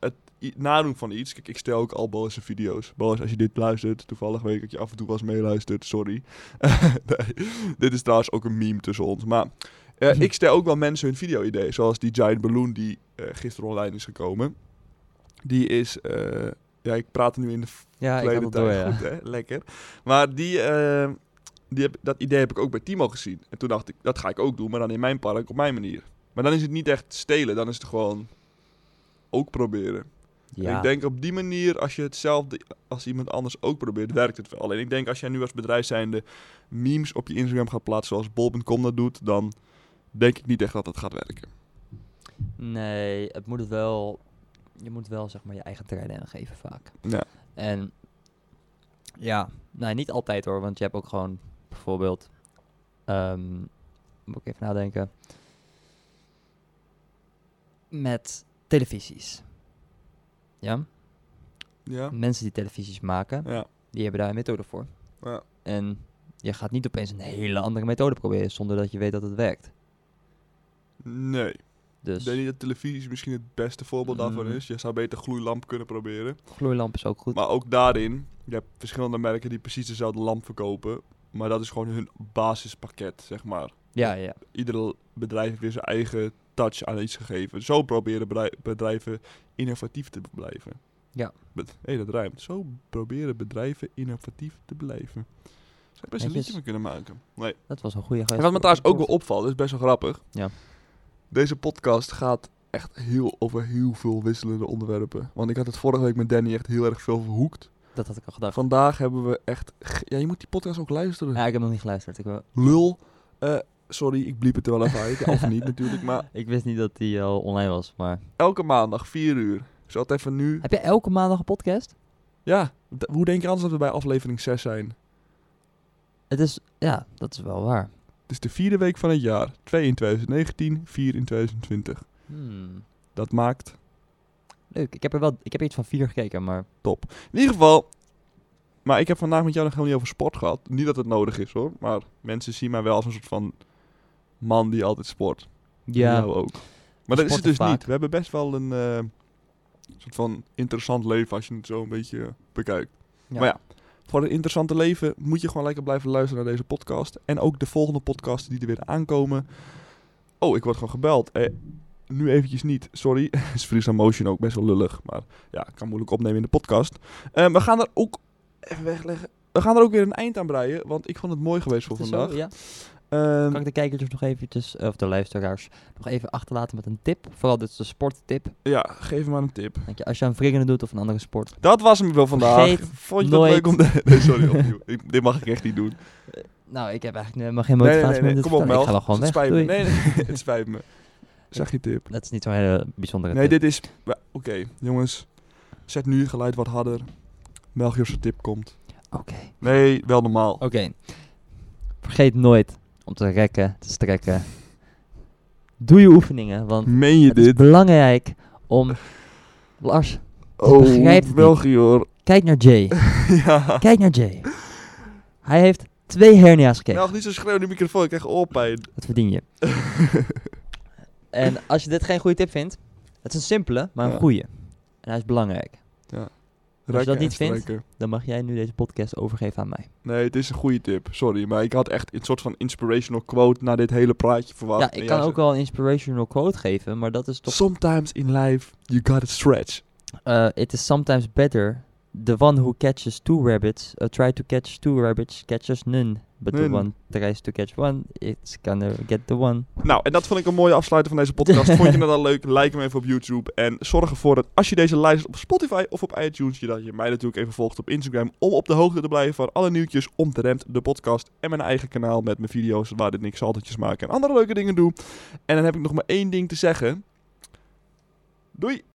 [SPEAKER 1] het i- nadoen van iets. Kijk, ik stel ook al boze video's. Boos, als je dit luistert, toevallig weet ik dat je af en toe wel eens meeluistert, sorry. nee, dit is trouwens ook een meme tussen ons. Maar eh, ik stel ook wel mensen hun video-idee. Zoals die Giant Balloon die eh, gisteren online is gekomen. Die is, eh, ja, ik praat er nu in de
[SPEAKER 2] ja, Ah, ik had
[SPEAKER 1] tweede
[SPEAKER 2] het door,
[SPEAKER 1] tijd.
[SPEAKER 2] ja.
[SPEAKER 1] Goed, hè? Lekker. Maar die, eh, die heb, dat idee heb ik ook bij Timo gezien. En toen dacht ik, dat ga ik ook doen, maar dan in mijn park op mijn manier. Maar dan is het niet echt stelen, dan is het gewoon ook proberen. En
[SPEAKER 2] Ja,
[SPEAKER 1] Ik denk op die manier, als je hetzelfde als iemand anders ook probeert, werkt het wel. Alleen ik denk als jij nu als bedrijf zijnde memes op je Instagram gaat plaatsen zoals bol.com dat doet, dan denk ik niet echt dat dat gaat werken.
[SPEAKER 2] nee, het moet het wel... Je moet wel, zeg maar, je eigen terrein aangeven vaak.
[SPEAKER 1] Ja.
[SPEAKER 2] En ja, nee, niet altijd hoor. Want je hebt ook gewoon bijvoorbeeld... ehm, moet ik even nadenken. Met televisies. Ja?
[SPEAKER 1] Ja?
[SPEAKER 2] Mensen die televisies maken,
[SPEAKER 1] Ja.
[SPEAKER 2] die hebben daar een methode voor.
[SPEAKER 1] Ja.
[SPEAKER 2] En je gaat niet opeens een hele andere methode proberen zonder dat je weet dat het werkt.
[SPEAKER 1] Nee.
[SPEAKER 2] Dus
[SPEAKER 1] Ik denk niet dat televisie misschien het beste voorbeeld daarvan
[SPEAKER 2] Mm.
[SPEAKER 1] is. Je zou beter gloeilamp kunnen proberen.
[SPEAKER 2] gloeilamp is ook goed.
[SPEAKER 1] Maar ook daarin, je hebt verschillende merken die precies dezelfde lamp verkopen. Maar dat is gewoon hun basispakket, zeg maar.
[SPEAKER 2] ja, ja.
[SPEAKER 1] Ieder bedrijf heeft weer zijn eigen touch aan iets gegeven. Zo proberen bedrij- bedrijven innovatief te blijven.
[SPEAKER 2] Ja.
[SPEAKER 1] Hé, hey, dat ruimt. Zo proberen bedrijven innovatief te blijven. Zou je best een
[SPEAKER 2] Netjes.
[SPEAKER 1] liedje mee kunnen maken. Nee.
[SPEAKER 2] Dat was een goede
[SPEAKER 1] En
[SPEAKER 2] geest.
[SPEAKER 1] wat me trouwens ook wel opvalt, dat is best wel grappig.
[SPEAKER 2] Ja.
[SPEAKER 1] Deze podcast gaat echt heel over heel veel wisselende onderwerpen. Want ik had het vorige week met Danny echt heel erg veel verhoekt.
[SPEAKER 2] Dat had ik al gedacht.
[SPEAKER 1] Vandaag hebben we echt... ge- Ja, je moet die podcast ook luisteren.
[SPEAKER 2] Ja, ik heb nog niet geluisterd. Ik, wil-
[SPEAKER 1] Lul. Eh, sorry, ik bliep het er wel even uit. Ja, of niet natuurlijk. Maar
[SPEAKER 2] ik wist niet dat die al online was, maar...
[SPEAKER 1] elke maandag, 4 uur. Ik zal het even nu...
[SPEAKER 2] Heb jij elke maandag een podcast?
[SPEAKER 1] Ja, d- hoe denk je anders dat we bij aflevering 6 zijn?
[SPEAKER 2] Het is... Ja, dat is wel waar.
[SPEAKER 1] Het is de vierde week van het jaar. 2 in 2019, 4 in 2020.
[SPEAKER 2] Hmm,
[SPEAKER 1] Dat maakt...
[SPEAKER 2] Leuk. Ik heb er wel... Ik heb iets van vier gekeken, maar...
[SPEAKER 1] In ieder geval. Maar ik heb vandaag met jou nog helemaal niet over sport gehad. Niet dat het nodig is hoor. Maar mensen zien mij wel als een soort van man die altijd sport. En
[SPEAKER 2] Ja.
[SPEAKER 1] Jou ook. Maar dat is het
[SPEAKER 2] sporten
[SPEAKER 1] dus
[SPEAKER 2] vaak.
[SPEAKER 1] niet. We hebben best wel een eh, soort van interessant leven als je het zo een beetje bekijkt.
[SPEAKER 2] Ja.
[SPEAKER 1] Maar ja, voor een interessante leven moet je gewoon lekker blijven luisteren naar deze podcast. En ook de volgende podcasten die er weer aankomen. Oh, ik word gewoon gebeld. Eh, nu eventjes niet, sorry. is Freestyle Motion ook best wel lullig. Maar ja, ik kan moeilijk opnemen in de podcast. Eh, we gaan er ook... Even wegleggen. We gaan er ook weer een eind aan breien. Want ik vond het mooi geweest voor
[SPEAKER 2] Is het
[SPEAKER 1] vandaag.
[SPEAKER 2] zo? Ja.
[SPEAKER 1] Eh, Ehm,
[SPEAKER 2] Kan ik de kijkertjes nog eventjes, of de luisteraars, nog even achterlaten met een tip? Vooral dit is een sporttip.
[SPEAKER 1] Ja, geef maar een tip.
[SPEAKER 2] Denk je, als je aan wringen doet of een andere sport.
[SPEAKER 1] Dat was hem wel vandaag.
[SPEAKER 2] Vergeet
[SPEAKER 1] Vond je dat
[SPEAKER 2] nooit-
[SPEAKER 1] leuk om... De... Nee, sorry, opnieuw. Ik- dit mag ik echt niet doen.
[SPEAKER 2] Nou, ik heb eigenlijk helemaal geen
[SPEAKER 1] Nee, nee,
[SPEAKER 2] motivatie
[SPEAKER 1] nee, nee.
[SPEAKER 2] meer. om dit
[SPEAKER 1] Kom op,
[SPEAKER 2] te vertellen.
[SPEAKER 1] Mel.
[SPEAKER 2] Ik ga wel gewoon
[SPEAKER 1] het
[SPEAKER 2] weg.
[SPEAKER 1] spijt me. Nee,
[SPEAKER 2] Doei.
[SPEAKER 1] nee, het spijt me. Zag je tip?
[SPEAKER 2] Dat is niet zo'n hele bijzondere
[SPEAKER 1] Nee,
[SPEAKER 2] tip.
[SPEAKER 1] dit is... wa- Oké, jongens. Zet nu je geluid wat harder. Melchiorse tip komt.
[SPEAKER 2] Oké.
[SPEAKER 1] Nee, wel normaal.
[SPEAKER 2] Oké. Vergeet nooit om te rekken, te strekken. Doe je oefeningen, want
[SPEAKER 1] Meen je
[SPEAKER 2] het is
[SPEAKER 1] dit?
[SPEAKER 2] belangrijk om... Lars, begrijp het
[SPEAKER 1] Oh,
[SPEAKER 2] niet.
[SPEAKER 1] Melchior.
[SPEAKER 2] kijk naar Jay.
[SPEAKER 1] ja.
[SPEAKER 2] Kijk naar Jay. Hij heeft twee hernia's gekregen.
[SPEAKER 1] Melch, niet zo schreeuwen in de microfoon. Ik krijg oorpijn.
[SPEAKER 2] Dat verdien je. en als je dit geen goede tip vindt, het is een simpele, maar een
[SPEAKER 1] Ja.
[SPEAKER 2] goede. En hij is belangrijk.
[SPEAKER 1] Rekken
[SPEAKER 2] dat
[SPEAKER 1] en
[SPEAKER 2] niet vindt?
[SPEAKER 1] strekken.
[SPEAKER 2] Dan mag jij nu deze podcast overgeven aan mij.
[SPEAKER 1] Nee, het is een goede tip. Sorry, maar ik had echt een soort van inspirational quote naar dit hele praatje verwacht.
[SPEAKER 2] ja,
[SPEAKER 1] En
[SPEAKER 2] ik
[SPEAKER 1] jij
[SPEAKER 2] kan
[SPEAKER 1] zegt,
[SPEAKER 2] ook wel een inspirational quote geven, maar dat is toch...
[SPEAKER 1] Sometimes in life, you gotta stretch.
[SPEAKER 2] eh, it is sometimes better the one who catches two rabbits, uh, try to catch two rabbits, catches none. But the
[SPEAKER 1] None.
[SPEAKER 2] one tries to catch one, it's gonna get the one.
[SPEAKER 1] Nou, en dat vond ik een mooie afsluiter van deze podcast. Vond je het dan leuk? Like hem even op YouTube. En zorg ervoor dat als je deze lijst op Spotify of op iTunes, je dat je mij natuurlijk even volgt op Instagram. Om op de hoogte te blijven van alle nieuwtjes om de rent, de podcast en mijn eigen kanaal met mijn video's waar dit niks saltetjes maken en andere leuke dingen doe. En dan heb ik nog maar één ding te zeggen. Doei!